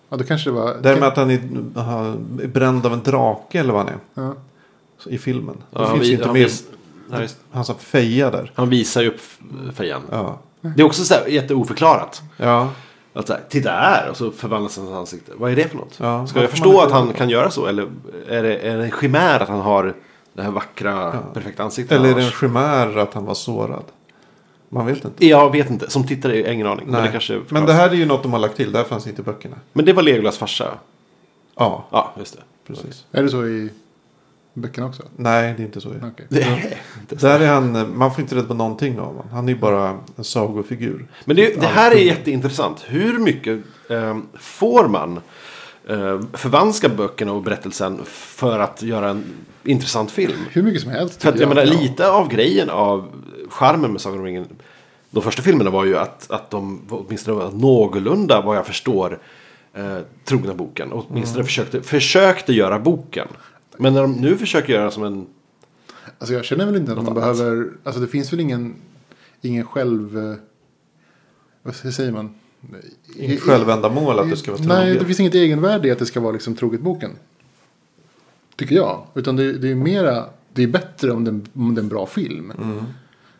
Ja, då kanske det var...
Därmed att han är, han är bränd av en drake eller vad han är
Ja.
så i filmen.
Ja,
det
han
finns
vi-
ju inte
han
med
vis- Nej, just-
hans feja där.
Han visar ju upp f- fejan.
Ja.
Det är också så här jätteoförklarat.
Ja.
Att så här, titta här! Och så förvandlas hans ansikte. Vad är det för något?
Ja,
Ska jag
varför man
förstå
inte-
att han kan göra så? Eller är det, är det en chimär att han har det här vackra, perfekta ansiktet?
Eller är det en
annars?
chimär att han var sårad? Man vet inte.
Jag vet inte. Som tittare, jag har ingen aning. Men det kanske
Men, det här är ju något de har lagt till. Där fanns inte i böckerna.
Men det var Legolas farsa.
Ja,
Ja, just det.
precis.
Är det så i böckerna också?
Nej, det är inte så.
Okej.
det är inte så.
Där är han, man får inte reda på någonting av honom. Han är ju bara en sagofigur.
(laughs) Men det, det här är jätteintressant. Hur mycket eh, får man eh, förvanska böckerna och berättelsen för att göra en intressant film?
Hur mycket som helst.
För att
tycker
jag menar,
Ja.
lite av grejen av charmen med Sagan om ringen. De första filmerna var ju att, att de var åtminstone var någorlunda, vad jag förstår, eh, trogna boken. Och åtminstone
Mm.
försökte, försökte göra boken. Men när de nu försöker göra som en...
Alltså jag känner väl inte att man
Något annat.
behöver... Alltså det finns väl ingen, ingen själv... eh, Vad hur säger man? I- i-
Inget självändamål att det ska vara
Nej, det
troget.
finns inget egenvärde i att det ska vara liksom troget boken. Tycker jag. Utan det, det är mera... Det är bättre om det, om det är en bra film.
Mm.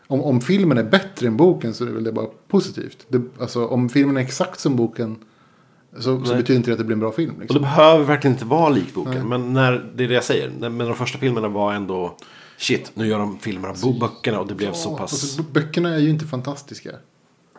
Om, om filmen är bättre än boken så är det väl det bara positivt. Det, alltså om filmen är exakt som boken Så, så
Nej.
betyder inte det att det blir en bra film.
Och
Liksom.
det behöver verkligen inte vara lik boken. Men när, det är det jag säger. Men de första filmerna var ändå shit. Nu gör de filmer av bo- böckerna och det blev så
Ja,
pass.
alltså, böckerna är ju inte fantastiska.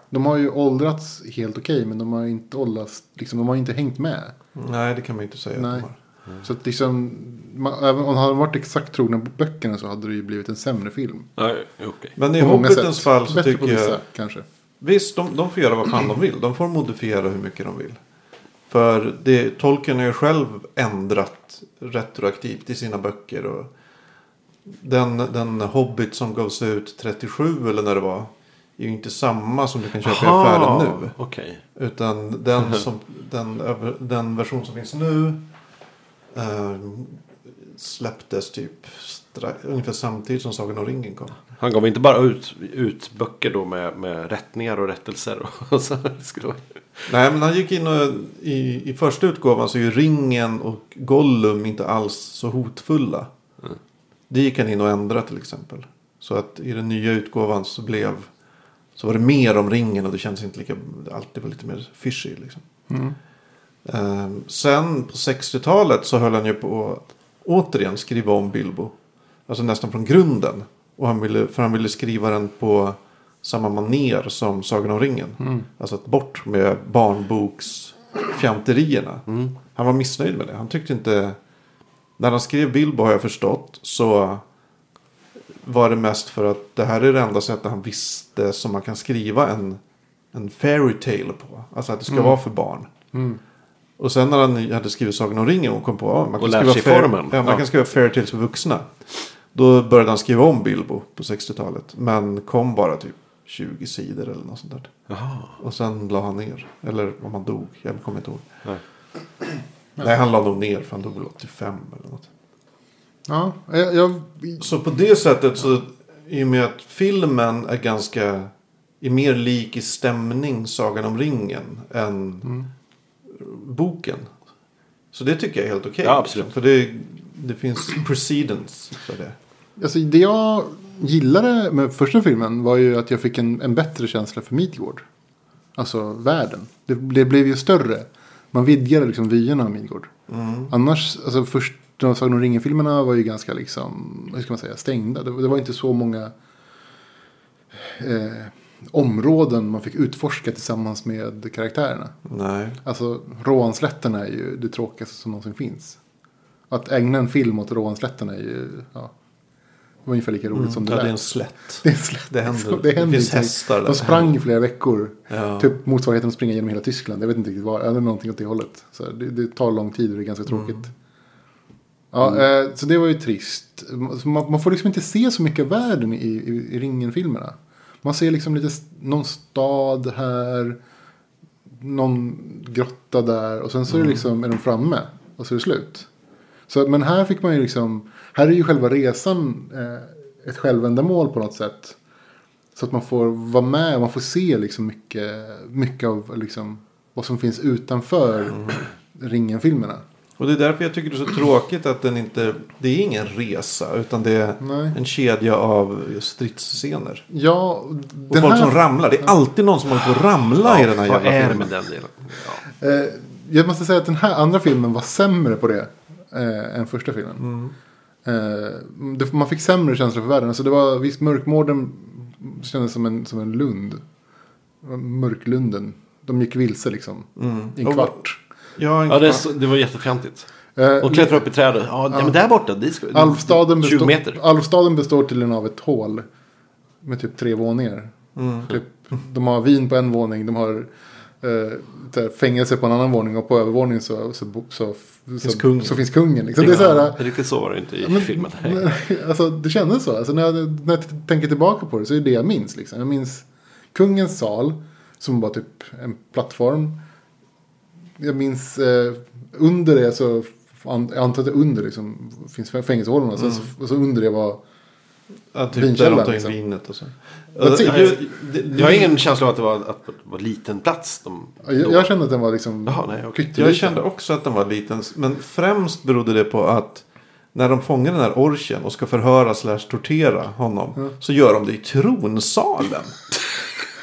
De har ju åldrats helt okej men de har inte åldrats, liksom, de har inte hängt med.
Nej, det kan man ju inte säga. att de
Nej.
har. Mm.
Så att liksom, man, även om de hade varit exakt trogna på böckerna så hade det ju blivit en sämre film.
Ja, okej.
Men i
På många
Hobbitens
sätt.
fall så
Bättre på
tycker
vissa,
jag...
kanske.
Visst, de, de får göra vad fan de vill. De får modifiera hur mycket de vill. För det, Tolkien har ju själv ändrat retroaktivt i sina böcker. Och den, den Hobbit som gavs ut 37 eller när det var. Är ju inte samma som du kan köpa i affären nu.
Okej.
Utan
Mhm.
den, som, den, över- den version som finns nu eh, släpptes typ stra- ungefär samtidigt som Sagan om ringen kom.
Han gav inte bara ut, ut böcker då med, med rättningar och rättelser. Och (laughs) så, det skulle vara-
Nej, men han gick in och i, i första utgåvan så är ju ringen och Gollum inte alls så hotfulla. Det gick han in och ändrade till exempel. Så att i den nya utgåvan så blev så var det mer om ringen och det kändes inte lika, allt det var lite mer fishy liksom. Ehm, sen på 60-talet så höll han ju på att återigen skriva om Bilbo. Alltså nästan från grunden. Och han ville, för han ville skriva den på samma maner som Sagan om ringen. Alltså att bort med barnboksfjanterierna. Han var missnöjd med det. Han tyckte inte... När han skrev Bilbo har jag förstått så var det mest för att det här är det enda sättet han visste som man kan skriva en, en fairy tale på. Alltså att det
Mm.
ska vara för barn. Och sen när han hade skrivit Sagan om ringen och kom på att man, kan
Och lärt
skriva,
sig
fair,
formen.
ja, man
Ja.
kan skriva fairy tales för vuxna. Då började han skriva om Bilbo på 60-talet. Men kom bara typ 20 sidor eller något sånt där.
Jaha.
Och sen la han ner. Eller om han dog. Jag kommer inte ihåg.
Nej.
Nej, han la nog ner för han dog väl 85 eller något.
Ja, jag, jag,
Så på det sättet så i och med att filmen är ganska är mer lik i stämning Sagan om ringen än
Mm.
boken. Så det tycker jag är helt okej. liksom.
Ja, absolut.
För det, det finns precedence för det.
alltså, det jag gillade med första filmen var ju att jag fick en, en bättre känsla för Midgård. Alltså världen. Det, det blev ju större. Man vidgade liksom vyerna av Midgård.
Mm.
Annars, alltså först de Sagan om ringen-filmerna var ju ganska liksom, hur ska man säga, stängda. Det, var- det var inte så många eh, områden man fick utforska tillsammans med karaktärerna.
Nej.
Alltså Råanslätterna är ju det tråkigaste som någonsin finns. Att ägna en film åt Råanslätterna är ju ja, det var ungefär lika roligt som det
Mm. Ja, det är
där.
en slätt.
(laughs) Det är en slätt.
Det händer.
Så
Det finns
inte.
hästar där.
De sprang i flera veckor.
Ja.
Typ motsvarigheten att springa genom hela Tyskland. Jag vet inte riktigt var. Eller någonting åt det hållet. Så här, det, det tar lång tid och det är ganska tråkigt. Ja, eh, så det var ju trist. Så Man, man får liksom inte se så mycket av världen i, i, i Ringen-filmerna. Man ser liksom lite st- någon stad här. Någon grotta där. Och sen så är, det liksom, är de framme. Och så är det slut. Så, men här fick man ju liksom. Här är ju själva resan eh, ett självändamål på något sätt. Så att man får vara med och man får se liksom mycket, mycket av liksom vad som finns utanför
Mm.
ringen-filmerna.
Och det är därför jag tycker det är så tråkigt att den inte... Det är ingen resa utan det är
Nej.
en kedja av stridsscener.
Ja,
Och
den
folk
här,
som ramlar. Det är alltid någon som håller på att ramla i den här
Vad
jävla
är det
filmen.
med den delen? Ja.
eh, jag måste säga att den här andra filmen var sämre på det eh, än första filmen.
Mm.
Eh, det, man fick sämre känsla för världen. Alltså det var, visst, mörkmården kändes som en, som en lund. Mörklunden. De gick vilse liksom. I en
Och-
kvart.
Ja, en
Ja, det, är
kvart.
så- det var jättefjantigt.
Eh,
Och klättra upp i trädet. Ja, ja. men där borta. Dit ska vi.
Alvstaden,
20
bestå
meter.
Alvstaden består tydligen av ett hål med typ tre våningar. Typ, de har vin på en våning, de har eh, så här, fängelse på en annan våning och på övervåningen så, så, bo- så, så,
Finns kungen.
så finns kungen. Liksom. Det, är så här,
Riktigt så var det inte i
men-
filmen.
(laughs) alltså, det kändes så. Alltså, när, jag, när jag t- tänker tillbaka på det så är det det jag minns. Liksom. Jag minns kungens sal som var typ en plattform. Jag minns eh, under det så, an, jag antar att det under liksom, finns fängelsehålorna. Sen
Mm.
så, och så under det var
Ja, typ där
Vinkällaren,
de tar in
liksom.
vinet och så.
typ,
Vad tid?
Ja, ju- det-
Jag har ingen känsla av att det var, att det var liten plats. De,
Ja, Jag, jag kände att den var liksom...
Jaha, nej, okej.
pytteliten.
Jag kände också att den var liten. Men främst berodde det på att när de fångar den här orchen och ska förhöra slash tortera honom. Så gör de det i tronsalen.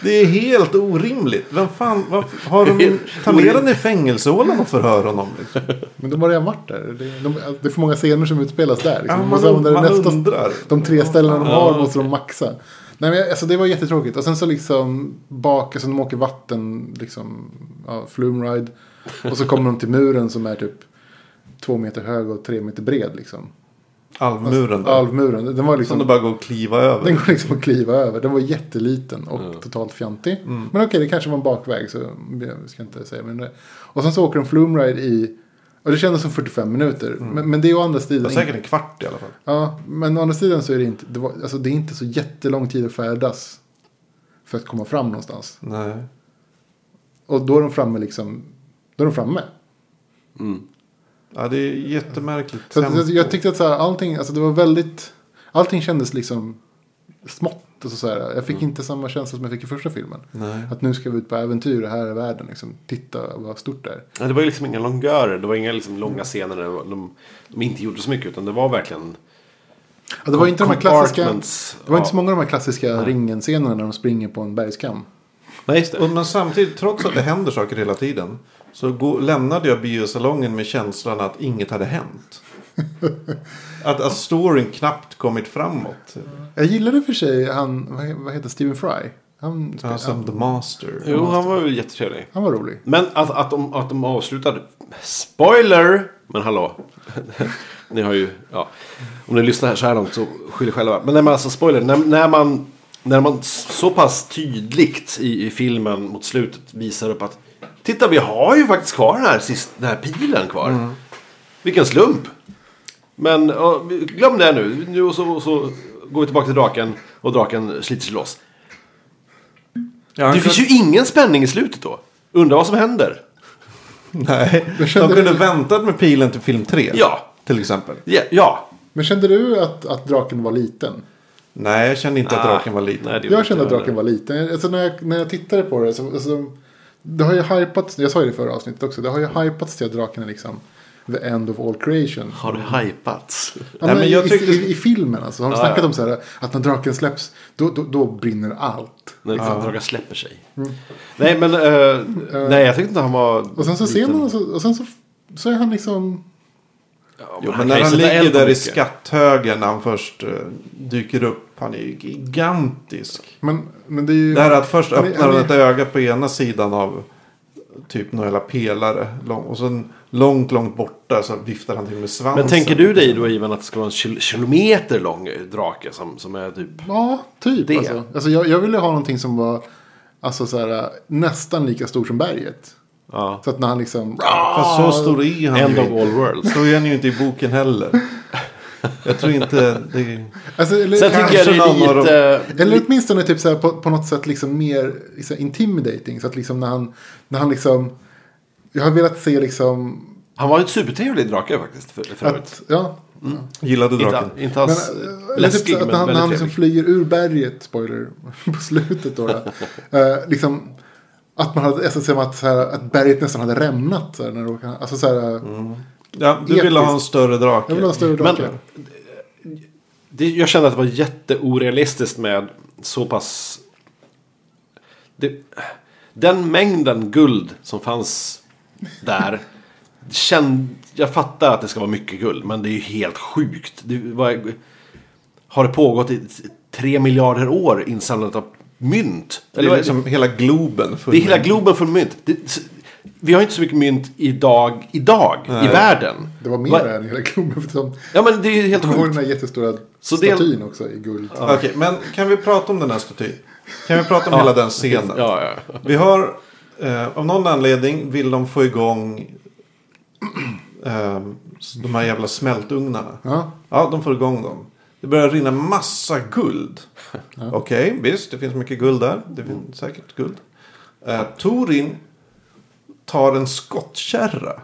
Det är helt orimligt. Vem fan, vad, har de, ta med den i fängelsehålan och förhör honom. liksom.
Men de har redan varit där. Det, de, det är för många scener som utspelas där. Liksom.
Ja,
De
man
måste använda det
man
nästa-
undrar.
De tre ställena de har måste de maxa. Nej, men jag- alltså, det var jättetråkigt. Och sen så liksom bak, alltså, de åker vatten, liksom, ja, flume ride. Och så kommer de till muren som är typ två meter hög och tre meter bred. Liksom.
Alvmuren där.
Alvmuren. Den var
Som
liksom...
det bara går att kliva över.
Den går liksom att kliva över. Den var jätteliten och totalt fjantig. Men okej, det kanske var en bakväg så jag ska inte säga mer om det. Och sen så åker de flume ride i... Och det kändes som 45 minuter. Men, men det är å andra
Det
sidan...
var säkert en kvart i alla fall.
Ja, men å andra sidan så är det inte, det var, alltså det är inte så jättelång tid att färdas för att komma fram någonstans.
Nej.
Och då är de framme liksom, då är de framme.
Ja, det är jättemärkligt
Så att,
tempo.
jag, jag tyckte att så här, allting, alltså det var väldigt, allting kändes liksom smått. Och så så här. Jag fick inte samma känsla som jag fick i första filmen.
Nej.
Att nu ska vi ut på äventyr och här är världen. Liksom. Titta vad stort det är.
Ja, det var ju liksom inga långörer. Det var inga liksom långa scener där de, de inte gjorde så mycket. Utan det var verkligen...
Ja, det var inte de här klassiska,
Compartments.
det var inte
Ja.
så många av de här klassiska ringen-scenerna när de springer på en bergskam.
Nej, just det.
Och, men samtidigt, trots att det händer saker hela tiden. Så gå, lämnade jag biosalongen med känslan att inget hade
(laughs)
hänt. Att, att storyn knappt kommit framåt.
Jag gillade för sig han, vad- vad heter Stephen Fry? Han, spe-
Ja, som Alltså, The Master.
Jo, han var väl jättetrevlig.
han var rolig.
Men att, att, de, att de avslutade... Spoiler! Men hallå. ni har ju... Ja. Om ni lyssnar här så här långt så skyll er själva. Men nej, men alltså spoiler. När, när man... När man så pass tydligt i, i filmen mot slutet visar upp att Titta vi har ju faktiskt kvar den här, sist, den här pilen kvar. Vilken slump. Men ja, glöm det nu. nu och så, och så går vi tillbaka till draken och draken sliter sig loss.
Ja, han
Det finns ju ingen spänning i slutet då. Undrar vad som händer.
Nej, de
kände-
kunde väntat med pilen till film 3.
Ja.
Till exempel.
Ja, ja.
Men kände du att, att draken var liten?
Nej, jag kände inte att
Ah,
draken var liten.
nej, det gjorde
Jag kände att
inte
draken var liten. Alltså när, jag, när jag tittade på det så... Alltså, det har ju hypats, jag sa ju det i förra avsnittet också, det har ju hypats till att draken är liksom the end of all creation.
Har det hypats?
Ja,
Nej,
men
men
i,
jag tyckte-
i, I filmen alltså, har de
Ja,
snackat
ja.
om så här att när draken släpps då, då, då brinner allt.
(laughs) När draken släpper sig. Nej, men... eh, nej, jag tyckte inte han var...
Mm. Och sen så ser man och så, och sen så, så är han liksom...
Ja,
Jo, men
han kan
när
ju
han
sätta
ligger
eld på
där i
mycket.
skatthögen när han först eh, dyker upp. Han är ju gigantisk.
Men, men det är ju...
Det här att först
Han är-
öppnar
han
han
är-
ett öga på ena sidan av typ några jävla pelare. Lång, och sen långt, långt borta så viftar han till med svansen.
Men tänker du dig då, Ivan, att det ska vara en kil- kilometer lång drake som, som är typ...
Ja, typ.
Det.
Alltså. Alltså, jag, jag ville ha någonting som var alltså, så här, nästan lika stor som berget.
Ja.
Så att när han liksom...
Fast så stor är han
Ah, End
ju
of
inte.
all worlds.
Så är han ju inte i boken heller. Jag tror inte det...
Alltså, eller,
Sen
kanske-
tycker jag det
någon av
är
dem.
lite...
Eller åtminstone typ så här på, på något sätt liksom mer liksom intimidating. Så att liksom när han, när han liksom... Jag har velat se liksom...
Han var ju ett supertrevlig drake faktiskt, för, för övrigt.
Att, ja,
Gillade draken.
Inte, inte alls
Men, eh,
läskig,
typ så att
men
när han, när han
väldigt
liksom
trevlig.
flyger ur berget, spoiler, (laughs) på slutet då.
(laughs)
då eh, liksom, att man hade, alltså, som att, så här, att berget nästan hade rämnat. Så här, när det åkte- alltså, så här,
Ja, du ville ha en större drake.
Jag vill ha en större
Mm, Men-
drake.
Det, jag kände att det var jätteorealistiskt med så pass... Det, den mängden guld som fanns där. Känd, jag fattar att det ska vara mycket guld, men det är ju helt sjukt. Det var, har det pågått i tre miljarder år insamlandet av mynt?
Det
vad-
är liksom hela globen. full
det är hela
med-
globen full mynt. Det, vi har inte så mycket mynt idag, idag i världen.
Det var mer
Va-
än hela klubben. (laughs) För de,
Ja, men det är ju helt
de har den
sjukt.
här jättestora
Så det-
statyn också i guld.
Okej, men kan vi prata om den här statyn? Kan vi prata om hela den scenen?
Ja, ja.
Vi har, eh, av någon anledning vill de få igång eh, de här jävla smältugnarna.
Ja.
Ja, de får igång dem. Det börjar rinna massa guld. Okej, visst, det finns mycket guld där. Det finns
Mm.
säkert guld. Eh, Torin tar en skottkärra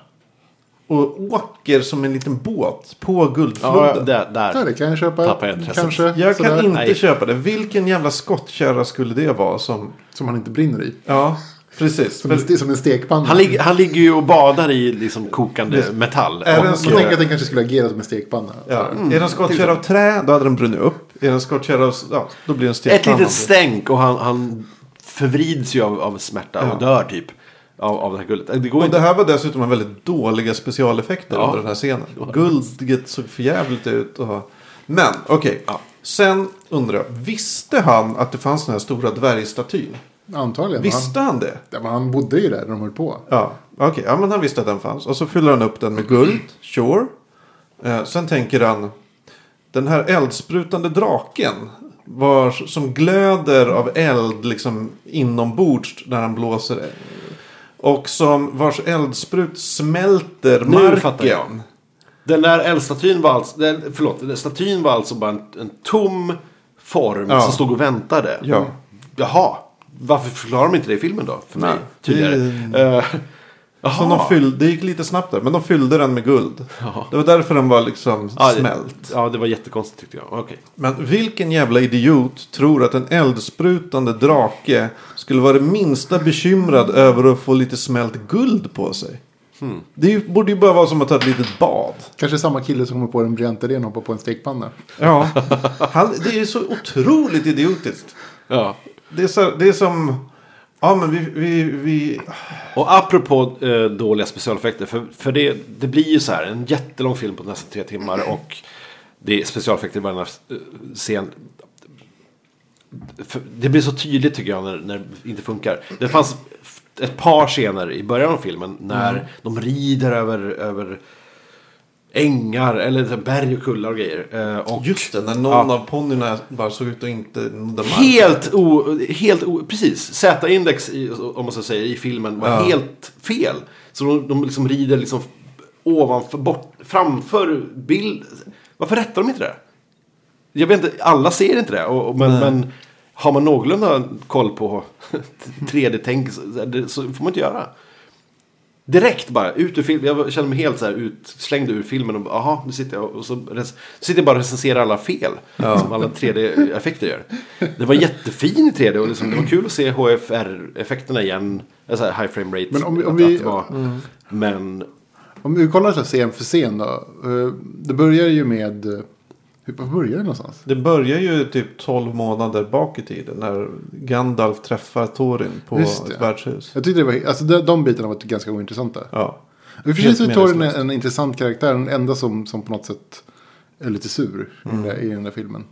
och åker som en liten båt på guldfloden.
ja där,
Ja,
där.
det kan jag köpa.
Tappar jag intresset.
Kanske.
Jag kan
sådär,
inte
Nej.
köpa det. Vilken jävla skottkärra skulle det vara som...
Som han inte brinner i.
Ja, precis.
Som en,
För-
ste- som en stekpanna.
Han, ligger- han ligger ju och badar i liksom kokande metall.
Är det en
Och-
sån-
Man tänker att den kanske skulle agera som en stekpanna.
Ja.
Mm.
Är den skottkärra av trä, då hade den brunnit upp. Är den skottkärra av... Ja, då blir den
ett
stekpanna.
litet stänk och han, han förvrids ju av, av smärta och dör typ. Av, av det här guldet. Det går
Och
inte.
det här var dessutom en väldigt dåliga specialeffekter
Ja.
under den här scenen. Guldet såg förjävligt ut. Och... Men okej.
Ja.
Sen undrar jag. Visste han att det fanns den här stora dvärgstatyn?
Antagligen.
Visste han det?
Han, ja, men han bodde ju där när de höll på.
Ja, okej. Ja, men han visste att den fanns. Och så fyller han upp den med guld. Sure. Eh, sen tänker han. Den här eldsprutande draken. Var, som glöder av eld liksom inombords när han blåser. Och som vars eldsprut smälter
Nu fattar jag.
marken.
Den där eldstatyn var alltså, den, förlåt, den där statyn var alltså bara en, en tom form
Ja.
som stod och väntade.
Ja.
Jaha, varför förklarar de inte det i filmen då? För mig,
Nej.
tidigare.
Det-
Eh, (laughs)
Så
Jaha.
de fyllde, det gick lite snabbt där, men de fyllde den med guld.
Ah. Ja.
Det var därför den var liksom
Ja, det-
smält.
Ja, det var jättekonstigt tyckte jag. Okej.
Men vilken jävla idiot tror att en eldsprutande drake skulle vara det minsta bekymrad över att få lite smält guld på sig?
Hmm.
Det är ju- borde ju bara vara som att ta ett litet bad.
Kanske samma kille som kommer på den briljanta idén att hoppa på en stekpanna.
Ja. (laughs) Han, det är så otroligt idiotiskt.
Ja.
Det är, så, det är som... Ja, men vi... vi, vi
Och apropå eh, dåliga specialeffekter. För, för det, det blir ju så här en jättelång film på nästan tre timmar. Och det är specialeffekter i varje eh, scen. För det blir så tydligt tycker jag när, när det inte funkar. Det fanns f- ett par scener i början av filmen. När de rider över, över ängar eller så här berg och kullar och grejer. Eh, och
just det, när någon
Ja.
av ponnyerna bara såg ut och inte nådde marken.
Helt o... Helt o precis. Z-index, i- om man så säger, i filmen var
Ja.
helt fel. Så de, de liksom rider liksom ovanför, bort, framför bild. Varför rättar de inte det? Jag vet inte, alla ser inte det. Och, och, men, men har man någorlunda koll på (laughs) 3D-tänk så, så får man inte göra. Direkt bara, ut ur filmen. Jag kände mig helt så här utslängd ur filmen. Och bara, aha, nu sitter jag och så rec- sitter jag bara och recenserar alla fel. Som alla 3D-effekter gör. Det var jättefin i 3D och liksom, det var kul att se HFR-effekterna igen. Alltså här, high frame rate.
Men om vi- om
att-
vi- Mm.
att det var, men
Om vi kollar så här scen för scen då. eh, Det börjar ju med... eh, hur- Var börjar det någonstans?
Det börjar ju typ 12 månader bak i tiden när Gandalf träffar Thorin på
Just det.
ett värdshus.
Jag tyckte det var... Alltså de, de bitarna var ganska ointressanta.
Ja.
I och för sig så är
Helt
Thorin en,
meningslöst.
en intressant karaktär. Den enda som, som på något sätt är lite sur i den där- i den där filmen.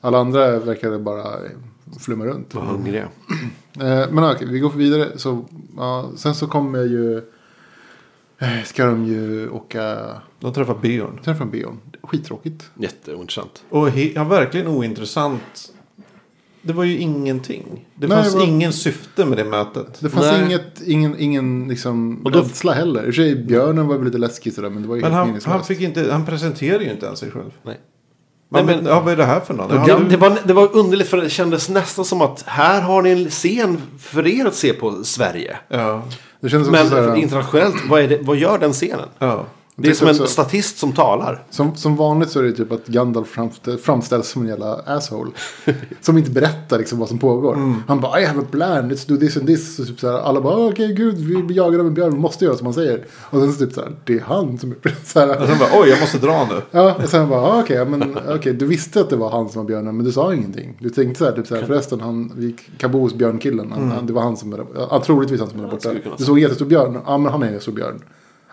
Alla andra verkade bara eh, flumma runt.
vad hungrig jag
Eh, Men okej, vi går vidare. Så, ja, sen så kommer ju... eh, Ska de ju åka...
De träffar Björn.
Träffa en Beon. Skittråkigt.
Jätteointressant.
Och he- ja, verkligen ointressant. Det var ju ingenting. Det
Nej,
fanns
det var-
ingen syfte med det mötet.
Det fanns
Nej.
inget, ingen, ingen liksom
Och då-
rädsla heller. I och för sig, björnen var väl lite läskig sådär, men det var ju
Men
helt
han,
meningslöst.
han, fick inte, han presenterade ju inte ens sig själv.
Nej.
Man
Nej,
vet,
men-
ja, vad är det här för någon?
Ja,
Ja, du-
det, var, det var underligt för det kändes nästan som att här har ni en scen för er att se på Sverige.
ja,
Det kändes också
Men
såhär,
internationellt, vad, är det, vad gör den scenen?
ja.
Det är som en
också-
statist som talar.
som, som vanligt så är det typ att Gandalf framst- framställs som en jävla
(laughs)
asshole. som inte berättar liksom vad som pågår.
Mm.
Han bara I have a plan, let's do this and this. Och typ såhär, alla bara okej gud, vi blir jagade av en björn, vi måste göra som han säger. Och sen så typ såhär, det är han som är (laughs)
Och
såhär.
sen bara, oj, jag måste dra nu.
Ja, och sen bara, ah, okej, men okej, du visste att det var han som var björnen, men du sa ingenting. Du tänkte så här, typ så här, förresten, han, vi, Kabos björnkillen, han, han, det var han som var där, ja, troligtvis han som var där borta.
skulle kunna
Du såg en jättestor björn, ja men han är en stor björn.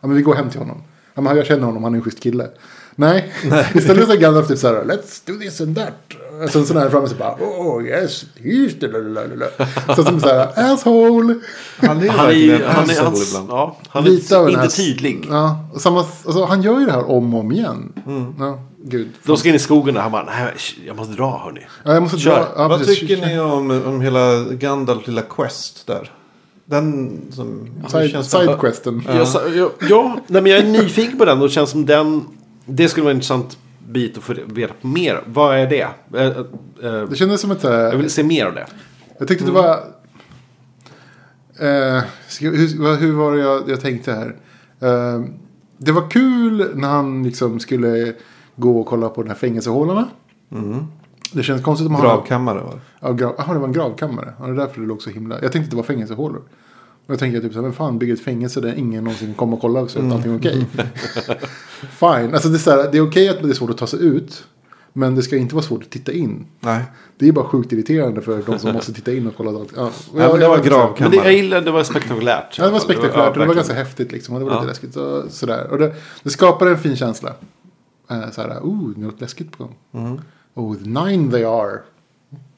Ja men vi går hem till honom. Ja men jag känner honom, han är en schysst kille. Nej, (laughs) istället så är Gandalf typ så här, let's do this and that. Och sen så när han är framme så bara, oh yes, just det, lalalala. Så som så här, asshole.
Han är,
Han är,
verkligen
ju- han är,
asshole
han,
ibland.
ja, han är inte,
av en
inte
ass-
tydlig.
Ja, och samma, alltså, han gör ju det här om och om igen. Ja, gud.
De ska in i skogen och han bara, nej jag måste dra hörni.
Ja, jag måste
Kör.
dra. Ja,
Vad
precis.
tycker ni om, om hela Gandalf lilla quest där? Den som... det
Side,
känns-
sidequesten.
Jag sa- jag, ja, nej, men jag är nyfiken på den och det känns som den, det skulle vara en intressant bit att få veta mer. Vad är det? Eh, eh,
Det kändes som ett... eh,
Jag vill Mm. se mer av det.
Jag tyckte det var... Eh, ska, hur, vad- hur var det jag, jag tänkte här? Eh, det var kul när han liksom skulle gå och kolla på de här fängelsehålorna.
Mm.
Det känns konstigt om han...
Gravkammare var det.
Ja, grav, aha, det var en gravkammare. Ja, det är därför det låg så himla... Jag tänkte att det var fängelsehålor. Och jag tänkte typ så här, vem fan bygger ett fängelse där ingen någonsin kommer och kollar
Mm.
(laughs) och så är allting okej. Fine, alltså det är, så här, det är okej att det är svårt att ta sig ut. Men det ska inte vara svårt att titta in.
Nej.
Det är bara sjukt irriterande för de som måste titta in och kolla allt. Ja,
men det var grav-
Men det, jag gillade, det var spektakulärt. i
Ja, det
alla
var
fall.
spektakulärt och det var
verkligen.
ganska häftigt liksom. Och det var lite läskigt och sådär. Och det, det skapade en fin känsla. Eh, såhär, oh, nu är något läskigt på gång.
Mm.
Oh, the nine they are.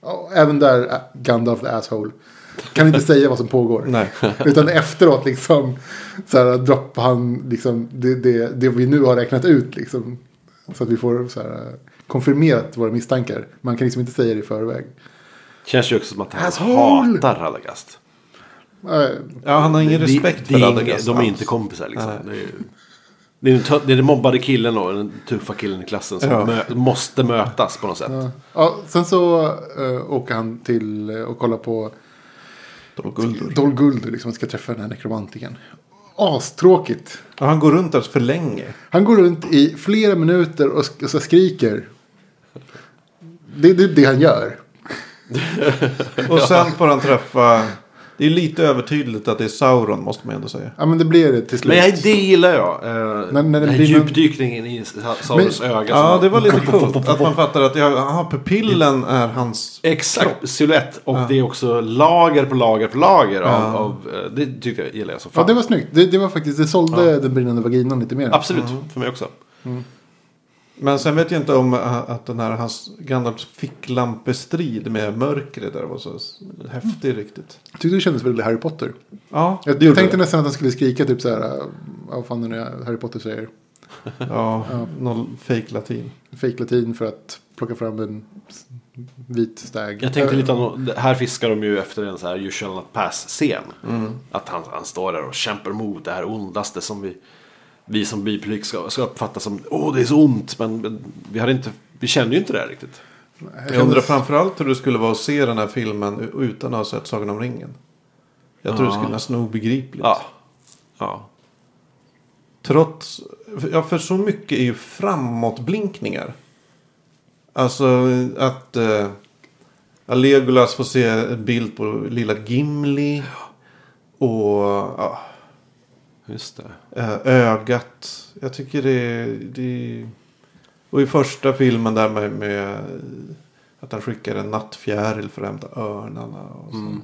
Ja, även där, eh, Gandalf the asshole. Kan inte säga vad som pågår.
Nej.
(laughs) Utan efteråt liksom, såhär, droppar han liksom, det, det, det vi nu har räknat ut liksom. Så att vi får såhär, konfirmerat våra misstankar. Man kan liksom inte säga det i förväg.
Känns ju också som att han
Asshole!
hatar Radagast.
Eh,
Ja, han har ingen
Det-
respekt
det
för
är
Radagast
inga- De är
alls.
inte kompisar liksom. Det är, ju, det, är den tö- det är den mobbade killen och den tuffa killen i klassen som (laughs)
Ja.
mö, måste mötas på något sätt.
Ja, sen så eh, åker han till eh, och kollar på
De guldur.
Dol Guldur liksom ska träffa den här nekromantiken. Astråkigt.
Ja, han går runt där för
(laughs)
länge.
Han går runt i flera minuter och, sk- och så skriker. Det är det, det han gör.
Och sen får han träffa... Det är lite övertydligt att det är Sauron måste man ändå säga.
Ja men det blir det till
Men
slut.
jag, det gillar jag. Eh,
men det
den här
blir någon-
djupdykningen i Saurons
Men-
öga.
Ja,
som-
det var lite coolt. Att man fattar att ja, aha, pupillen
Mm.
är hans...
Exakt, silhuett. Och det är också lager på lager på lager. Av, av, eh, det tyckte jag gillar jag som fan.
Ja det var snyggt. Det, det var faktiskt, det sålde den brinnande vaginan lite mer.
Absolut, för mig också.
Men sen vet jag inte om äh, att den här hans Gandalfs ficklampestrid med mörkret där var så s-
Mm.
häftig riktigt.
Jag tyckte det kändes väldigt Harry Potter.
Ja,
Jag,
det
jag
gjorde
tänkte
det.
nästan att han skulle skrika typ så här. äh, Vad fan är det nu Harry Potter säger?
Ja, någon fake latin.
Fake latin för att plocka fram en s- vit stag.
Jag tänkte
Äh,
lite om, här fiskar de ju efter en så här you shall not pass-scen.
Mm.
Att han, han står där och kämpar mot det här ondaste som vi, vi som bipublik ska, ska uppfatta som åh det är så ont. Men, men vi, hade inte, vi kände ju inte det här riktigt.
Jag undrar framförallt hur det skulle vara att se den här filmen u- utan att ha sett Sagan om ringen. Jag tror det skulle nästan vara obegripligt.
Ja. ja.
Trots, ja för så mycket är ju framåtblinkningar. Alltså att eh, Legolas får se en bild på lilla Gimli. Och ja,
Just det.
eh, ögat. Jag tycker det, det Och i första filmen där med, med eh, att han skickar en nattfjäril för att hämta örnarna. Och så.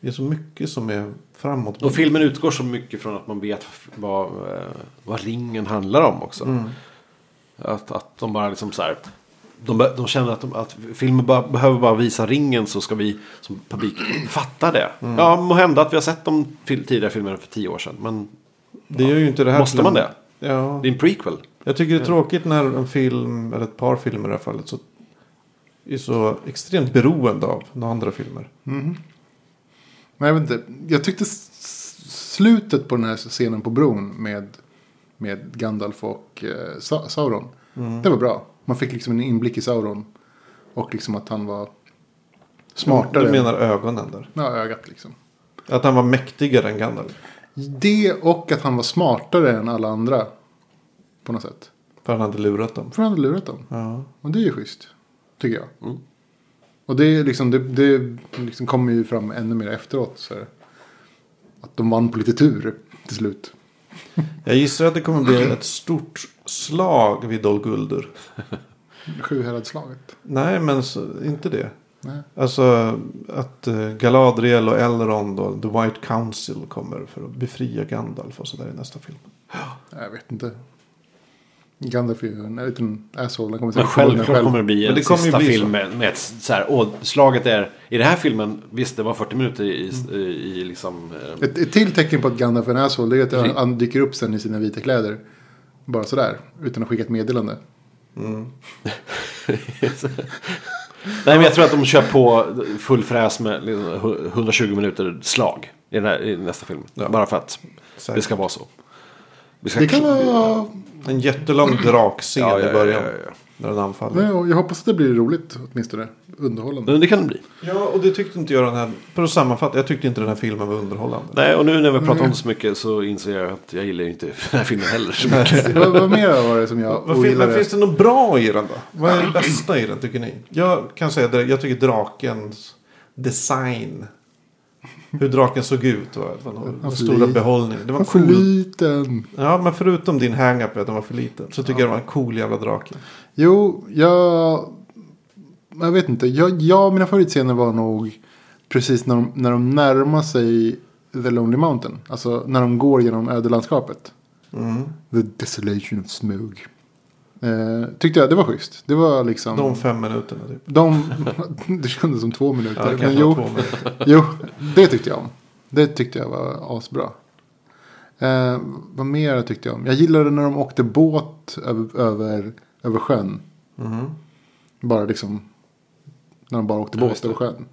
Det är så mycket som är framåt.
Mm. Och filmen utgår så mycket från att man vet vad, eh, vad ringen handlar om också.
Mm.
Att, att de bara liksom så här. De, be- de känner att, de, att filmen bara, behöver bara visa ringen så ska vi som publik (clears throat) fatta det.
Mm.
Ja, må hända att vi har sett de fil- tidigare filmerna för tio år sedan. Men
Det gör ju inte det här
Måste
till en-
man det?
Ja.
det är en prequel.
Jag tycker det är tråkigt när en film, eller ett par filmer i det här fallet, så är så extremt beroende av några andra filmer.
Mhm. Nej, jag vet inte. Jag tyckte s- s- slutet på den här scenen på bron med, med Gandalf och eh, Sa- Sauron.
Mm.
Det var bra. Man fick liksom en inblick i Sauron. Och liksom att han var smartare.
Du menar ögonen där.
Ja, ögat liksom.
Att han var mäktigare än Gandalf.
Det och att han var smartare än alla andra. På något sätt.
För han hade lurat dem.
För han hade lurat dem.
Ja.
Och det är ju schysst. Tycker jag.
Mm.
Och det, är liksom, det, det liksom kommer ju fram ännu mer efteråt. Så här. Att de vann på lite tur till slut.
Jag gissar att det kommer bli ett stort slag vid Dol Guldur.
Sjuhäradsslaget.
Nej, men så, inte det.
Nej.
Alltså att eh, Galadriel och Elrond och The White Council kommer för att befria Gandalf och sådär i nästa film.
Jag vet inte. Gandalf är ju en liten asshole. Han kommer
Men
säkert få den
självklart kommer det bli
Men
en
det kommer ju
sista
bli så.
film med, med ett så här. Och slaget är, i den här filmen, visst det var 40 minuter i, i, i liksom... eh,
Ett, ett till tecken på att Gandalf är en asshole det är att han,
Mm.
han dyker upp sen i sina vita kläder. Bara sådär. Utan att skicka ett meddelande.
Nej, men jag tror att de kör på full fräs med liksom 120 minuter slag i, den här, i nästa film. Bara för att det ska vara så. Vi ska
Det kan vara...
En jättelång
(clears throat)
drakscen
Ja, ja, ja,
i början.
ja, ja.
När den anfaller.
Nej, jag hoppas att det blir roligt åtminstone. Underhållande.
Men det kan det bli.
Ja, och det tyckte inte jag den här... För att sammanfatta, jag tyckte inte den här filmen var underhållande.
Nej, och nu när vi pratar om det så mycket så inser jag att jag gillar ju inte (laughs) den här filmen heller så mycket.
Vad, vad mer var det som jag
Mm. Vad fin, men
ogillade?
finns det något bra i den då? Vad är det bästa i den tycker ni? Jag kan säga det, jag tycker drakens design hur draken såg ut. Va? Den
var för
stora
li-
behållningen. Det var
Vad för
cool.
liten.
Ja, men förutom din hang-up att den var för liten. Så tycker jag det var en cool jävla drake.
Jo, jag... Jag vet inte. Jag, jag, mina favoritscener var nog precis när de, när de närmar sig The Lonely Mountain. Alltså när de går genom ödelandskapet.
Mm.
The Desolation of Smug. Eh, tyckte jag det var schysst. Det var liksom...
De fem minuterna typ.
de (laughs) det kändes som två
Ja,
minuter.
det
men
kanske var
jo,
två minuter.
jo, det tyckte jag om. Det tyckte jag var asbra. Eh, vad mer tyckte jag om? Jag gillade när de åkte båt över, över, över sjön.
Mhm.
Bara liksom. När de bara åkte båt över sjön.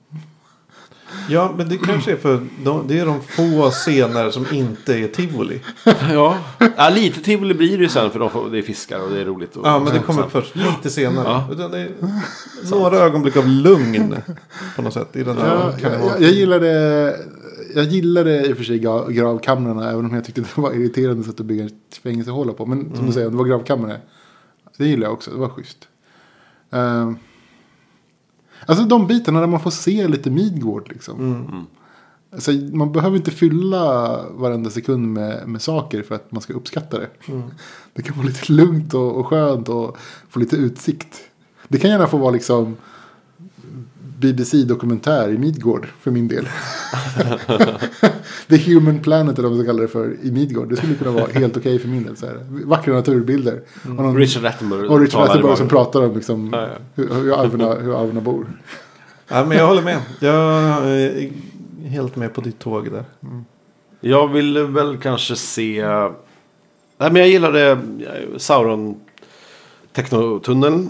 Ja, men det kanske är för de, det är de få scener som inte är tivoli.
(laughs) Ja. ja, lite tivoli blir det ju sen för de får, det är fiskar och det är roligt. Och
Ja, men det kommer
sen.
först lite senare.
Ja.
Utan det är några ögonblick av lugn på något sätt i den här
Ja, jag,
karnevalen.
jag, jag gillade. Jag gillade i och för sig gra- gravkamrarna. Även om jag tyckte (laughs) det var irriterande sätt att bygga ett fängelsehåla på. Men som du säger, det var gravkamrare. Det gillade jag också. Det var schysst. Eh, alltså de bitarna där man får se lite Midgård liksom. Alltså, man behöver inte fylla varenda sekund med, med saker för att man ska uppskatta det. (laughs) Det kan vara lite lugnt och, och skönt och få lite utsikt. Det kan gärna få vara liksom BBC-dokumentär i Midgård för min (laughs) del. The Human Planet eller vad man ska kalla det för i Midgård. Det skulle kunna vara helt okej för min del. Så här. Vackra naturbilder. Och någon-
Richard Attenborough.
och Richard
talar i
Attenborough som
bakgrunden.
pratar om liksom,
Ja, ja.
hur, hur, alverna, hur alverna bor.
Ja, men jag håller med. Jag eh, är helt med på ditt tåg där.
Mm. Jag ville väl kanske se... Nej, men jag gillade eh, Sauron Technotunneln.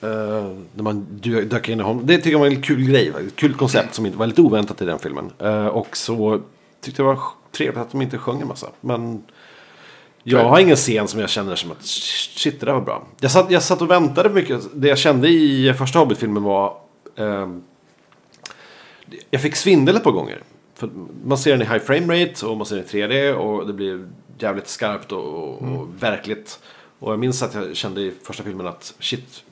Eh, när man dö- dök in i honom. Det tycker jag var en kul grej. va? Ett kul koncept som inte var lite oväntat i den filmen. Eh, och så tyckte jag det var trevligt att de inte sjöng en massa. Men jag har ingen scen som jag känner som att shit, det där var bra. Jag satt, jag satt och väntade mycket. Det jag kände i första Hobbit-filmen var... eh, jag fick svindel ett par gånger. För man ser den i high frame rate och man ser den i 3D och det blir jävligt skarpt och, och, och verkligt. Och jag minns att jag kände i första filmen att shit,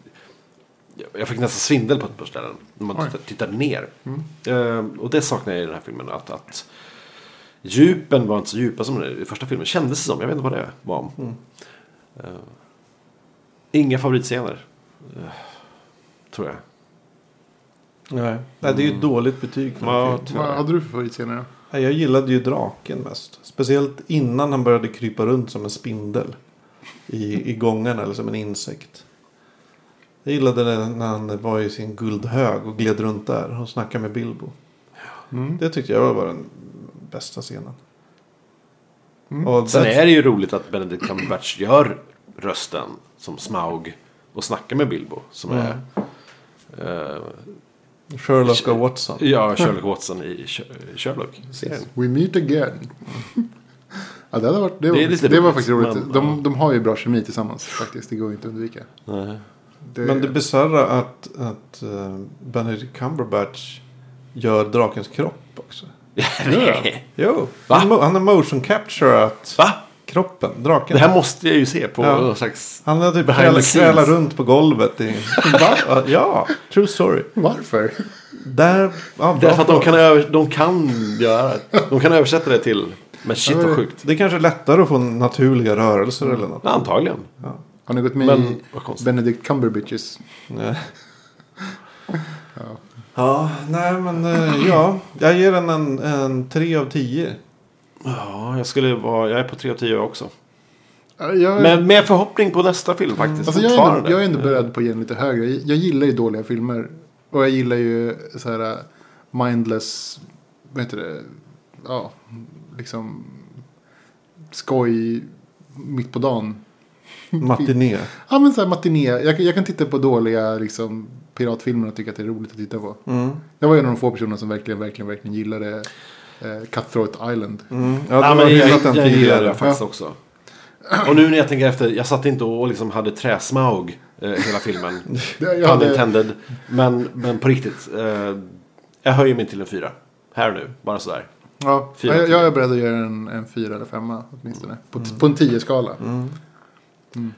jag- jag fick nästan svindel på ett par ställen. När man
Oj.
tittade, tittade ner. Eh, och det saknar jag i den här filmen. Att, att djupen var inte så djupa som i första filmen. Kändes det som, jag vet inte vad det var om. Eh, inga favoritscener. Eh, tror jag.
Nej. Nej, det är ju ett dåligt betyg. För
Ja,
en film.
tyvärr.
Vad hade du för favoritscener? då?
Nej, Jag gillade ju draken mest. Speciellt innan han började krypa runt som en spindel. I, i gångarna eller som en insekt. Jag gillade det när han var i sin guldhög och gled runt där och snackade med Bilbo.
Mm.
Det tyckte jag var den bästa scenen.
Mm.
Och
Sen
där-
är det ju roligt att Benedict Cumberbatch gör rösten som Smaug och snackar med Bilbo. Som är eh,
Sherlock och Watson.
ja, Sherlock Watson i Sher- Sherlock-serien.
We
(laughs)
meet again. ja, det, hade varit, det,
Det
var,
är
det,
lite
var
roligt,
faktiskt roligt.
men-
de, de har ju bra kemi tillsammans faktiskt. Det går inte att undvika.
Nej.
Det,
Men det bisarra att, att eh, Benedict Cumberbatch gör drakens kropp också.
(laughs) Nej.
Jo,
Va?
han, mo- han har motion capturat
Va?
kroppen, draken.
Det här måste jag ju se på
Ja.
någon slags...
Han har typ
Behind the
krälat
scenes.
krälat runt på golvet. I, Va? ja, true story.
Varför?
Där, ja,
Därför
bra
att de
fråga.
kan, över, de kan göra De kan översätta det till... Men shit vad sjukt.
Det är kanske är lättare att få naturliga rörelser eller något.
Antagligen.
Har ni gått med
Men,
i
vad konstigt.
Benedict Cumberbatches?
Nej. Eh. Ja, nej men eh, ja. Jag ger den en, en 3 av 10.
Ja, jag skulle vara... Jag är på 3 av 10 också.
Ja, Jag,
Men med förhoppning på nästa film faktiskt.
alltså, jag, är ändå,
fortfarande.
jag är ändå beredd på att ge den lite högre. Jag, jag gillar ju dåliga filmer. Och jag gillar ju så här eh, mindless, vad heter det, ja, liksom skoj mitt på dagen.
Matiné.
Ja men så här matiné. Jag, jag kan titta på dåliga liksom, piratfilmer och tycka att det är roligt att titta på.
Mm.
Jag var en av de få personerna som verkligen, verkligen, verkligen gillade eh, Cutthroat Island.
Mm. Ja,
Ja,
du har
men jag,
hyllat den
jag gillar
tidigare.
det faktiskt också. Och nu när jag tänker efter, jag satt inte och liksom hade träsmaug eh, hela
(laughs)
filmen.
Det- Jag
Pun
hade,
intended. Men, men på riktigt. Eh, jag höjer min till en fyra. Här nu, bara sådär.
ja,
Fyra
jag, jag
tio.
är beredd att göra en, en fyra eller femma åtminstone. På, t- på en tio-skala.
Mm.
Mm.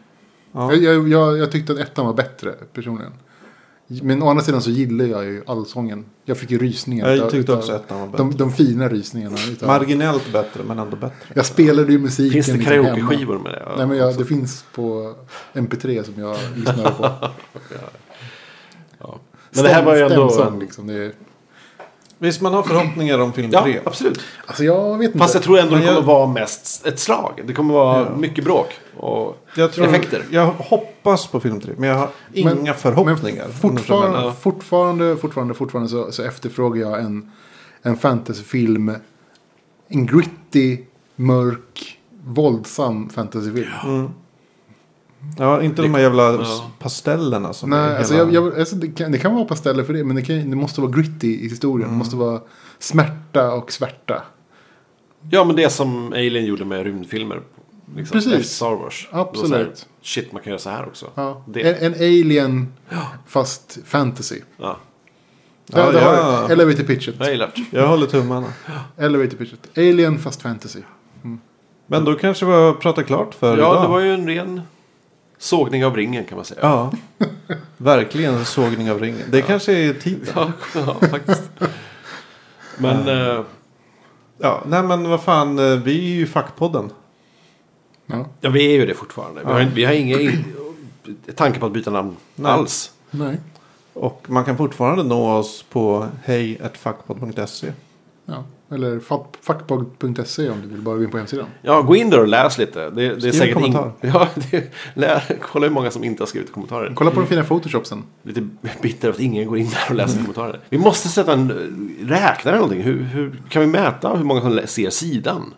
Ja.
Jag, jag, jag, jag tyckte att ettan var bättre personligen. Men å andra sidan så gillar jag ju allsången. Jag fick ju rysningar.
Jag
utav-
tyckte
utav
också ettan var bättre.
de, de fina rysningarna. utav-
Marginellt bättre men ändå bättre.
jag spelade ju musiken
Finns det
liksom hemma.
karaoke-skivor med det?
Nej, men jag, det finns på MP3 som jag lyssnar på.
Men det här var ju
Stäm-
ändå...
stämsång, liksom. det är,
Visst man har förhoppningar om film
Ja,
3.
absolut.
alltså jag vet inte.
Fast jag tror ändå
Men
det
jag-
kommer vara mest ett slag. Det kommer vara
Ja.
mycket bråk och
Jag, tror,
effekter.
jag hoppas på film 3 men jag har inga
Men-
förhoppningar. om
Men
du förstår vad jag menar.
fortfarande, fortfarande, fortfarande, fortfarande så, så efterfrågar jag en, en fantasyfilm. En gritty, mörk, våldsam fantasyfilm.
Ja, inte de här jävla
Ja.
s- pastellerna som
Nej,
är
alltså,
hela...
jag, jag, alltså det, kan, det kan vara pasteller för det, men det, kan, det måste vara gritty i historien. Det måste vara smärta och svärta.
Ja, men det som Alien gjorde med rymdfilmer. Liksom,
Precis.
Efter Star Wars.
Absolut.
Då så här, shit, man kan göra så här också.
Ja.
Det.
En, en alien, fast fantasy.
Ja,
Ja,
Ja, det
ja.
har jag. Elevator pitchet.
jag gillar det.
jag håller tummarna.
Elevator pitchet. Alien, fast fantasy.
Men då kanske vi har pratat klart för
Ja,
idag.
det var ju en ren sågning av ringen kan man säga.
Ja, verkligen en sågning av ringen. Det kanske är titeln.
Ja, (laughs) ja, faktiskt. Men eh,
Ja, nej men vad fan, eh, vi är ju fackpodden.
Ja.
ja, vi är ju det fortfarande. Vi har,
Ja.
vi har ingen tanke på att byta namn
Nej.
alls.
Nej.
Och man kan fortfarande nå oss på hejfackpodd.se.
Ja. Eller fa- fackpod.se om du vill bara gå in på hemsidan.
Ja, gå in där och läs lite. Det, det är
en
säkert in...
kommentar.
(laughs) ja, det, lä, kolla hur många som inte har skrivit kommentarer.
Kolla på de fina photoshopsen.
Lite bitter att ingen går in där och läser
Mm.
kommentarer. Vi måste sätta en eh, räknare eller någonting. Hur, hur kan vi mäta hur många som lä- ser sidan?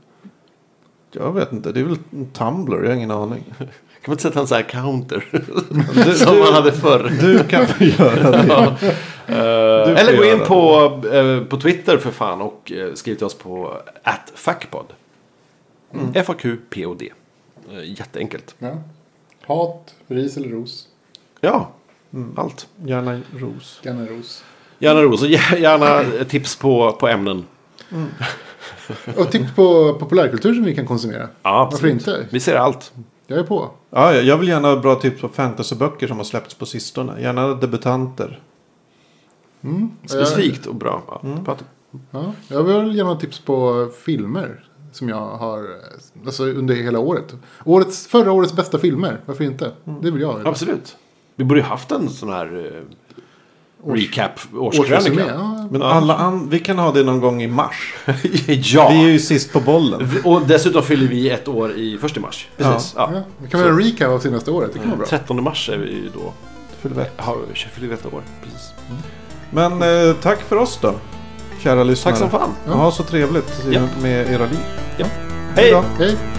Jag vet inte, det är väl en Tumblr, jag har ingen aning.
(laughs) Kan man inte sätta en sån här counter?
Du,
(laughs) som man
du,
hade förr.
du kan få göra det.
Ja. Eh,
får
eller gå
göra
in
det.
på, eh, på Twitter för fan och eh, skriv till oss på Mm. @fackpod. F-A-Q-P-O-D. Eh, Jätteenkelt.
Ja. Hat, ris eller ros.
Ja, allt.
Gärna ros.
Gärna ros.
Gärna ros och gär- gärna tips på, på ämnen.
Och tips på populärkultur som vi kan konsumera.
Ja,
Varför
absolut.
inte?
Vi ser allt.
Jag är på.
Ja, ja, jag vill gärna ha bra tips på fantasyböcker som har släppts på sistone. Gärna debutanter.
Specifikt och bra. Ja, prata.
Ja, jag vill gärna ha tips på filmer som jag har eh, alltså, under hela året. årets. Förra årets bästa filmer, varför inte? Det vill jag ha.
Mm. Absolut. Vi borde ju haft en sån här eh, recap,
Årsresumé,
årskrönika.
ja.
Men
Ja.
alla an- vi kan ha det någon gång i mars. (laughs) Vi är
(laughs) ja.
ju sist på bollen.
Och dessutom fyller vi ett år i första mars. Precis. Ja.
Ja, det kan vara en recap av senaste året, det kan vara bra.
13 mars är vi ju då.
Förlåt.
Har vi fyller vi ett år. Precis.
Men eh, tack för oss då, kära lyssnare.
Tack som fan.
Ja, ha så trevligt eh,
Japp.
med era liv.
Ja.
Hej
Hej!
då.
Hej!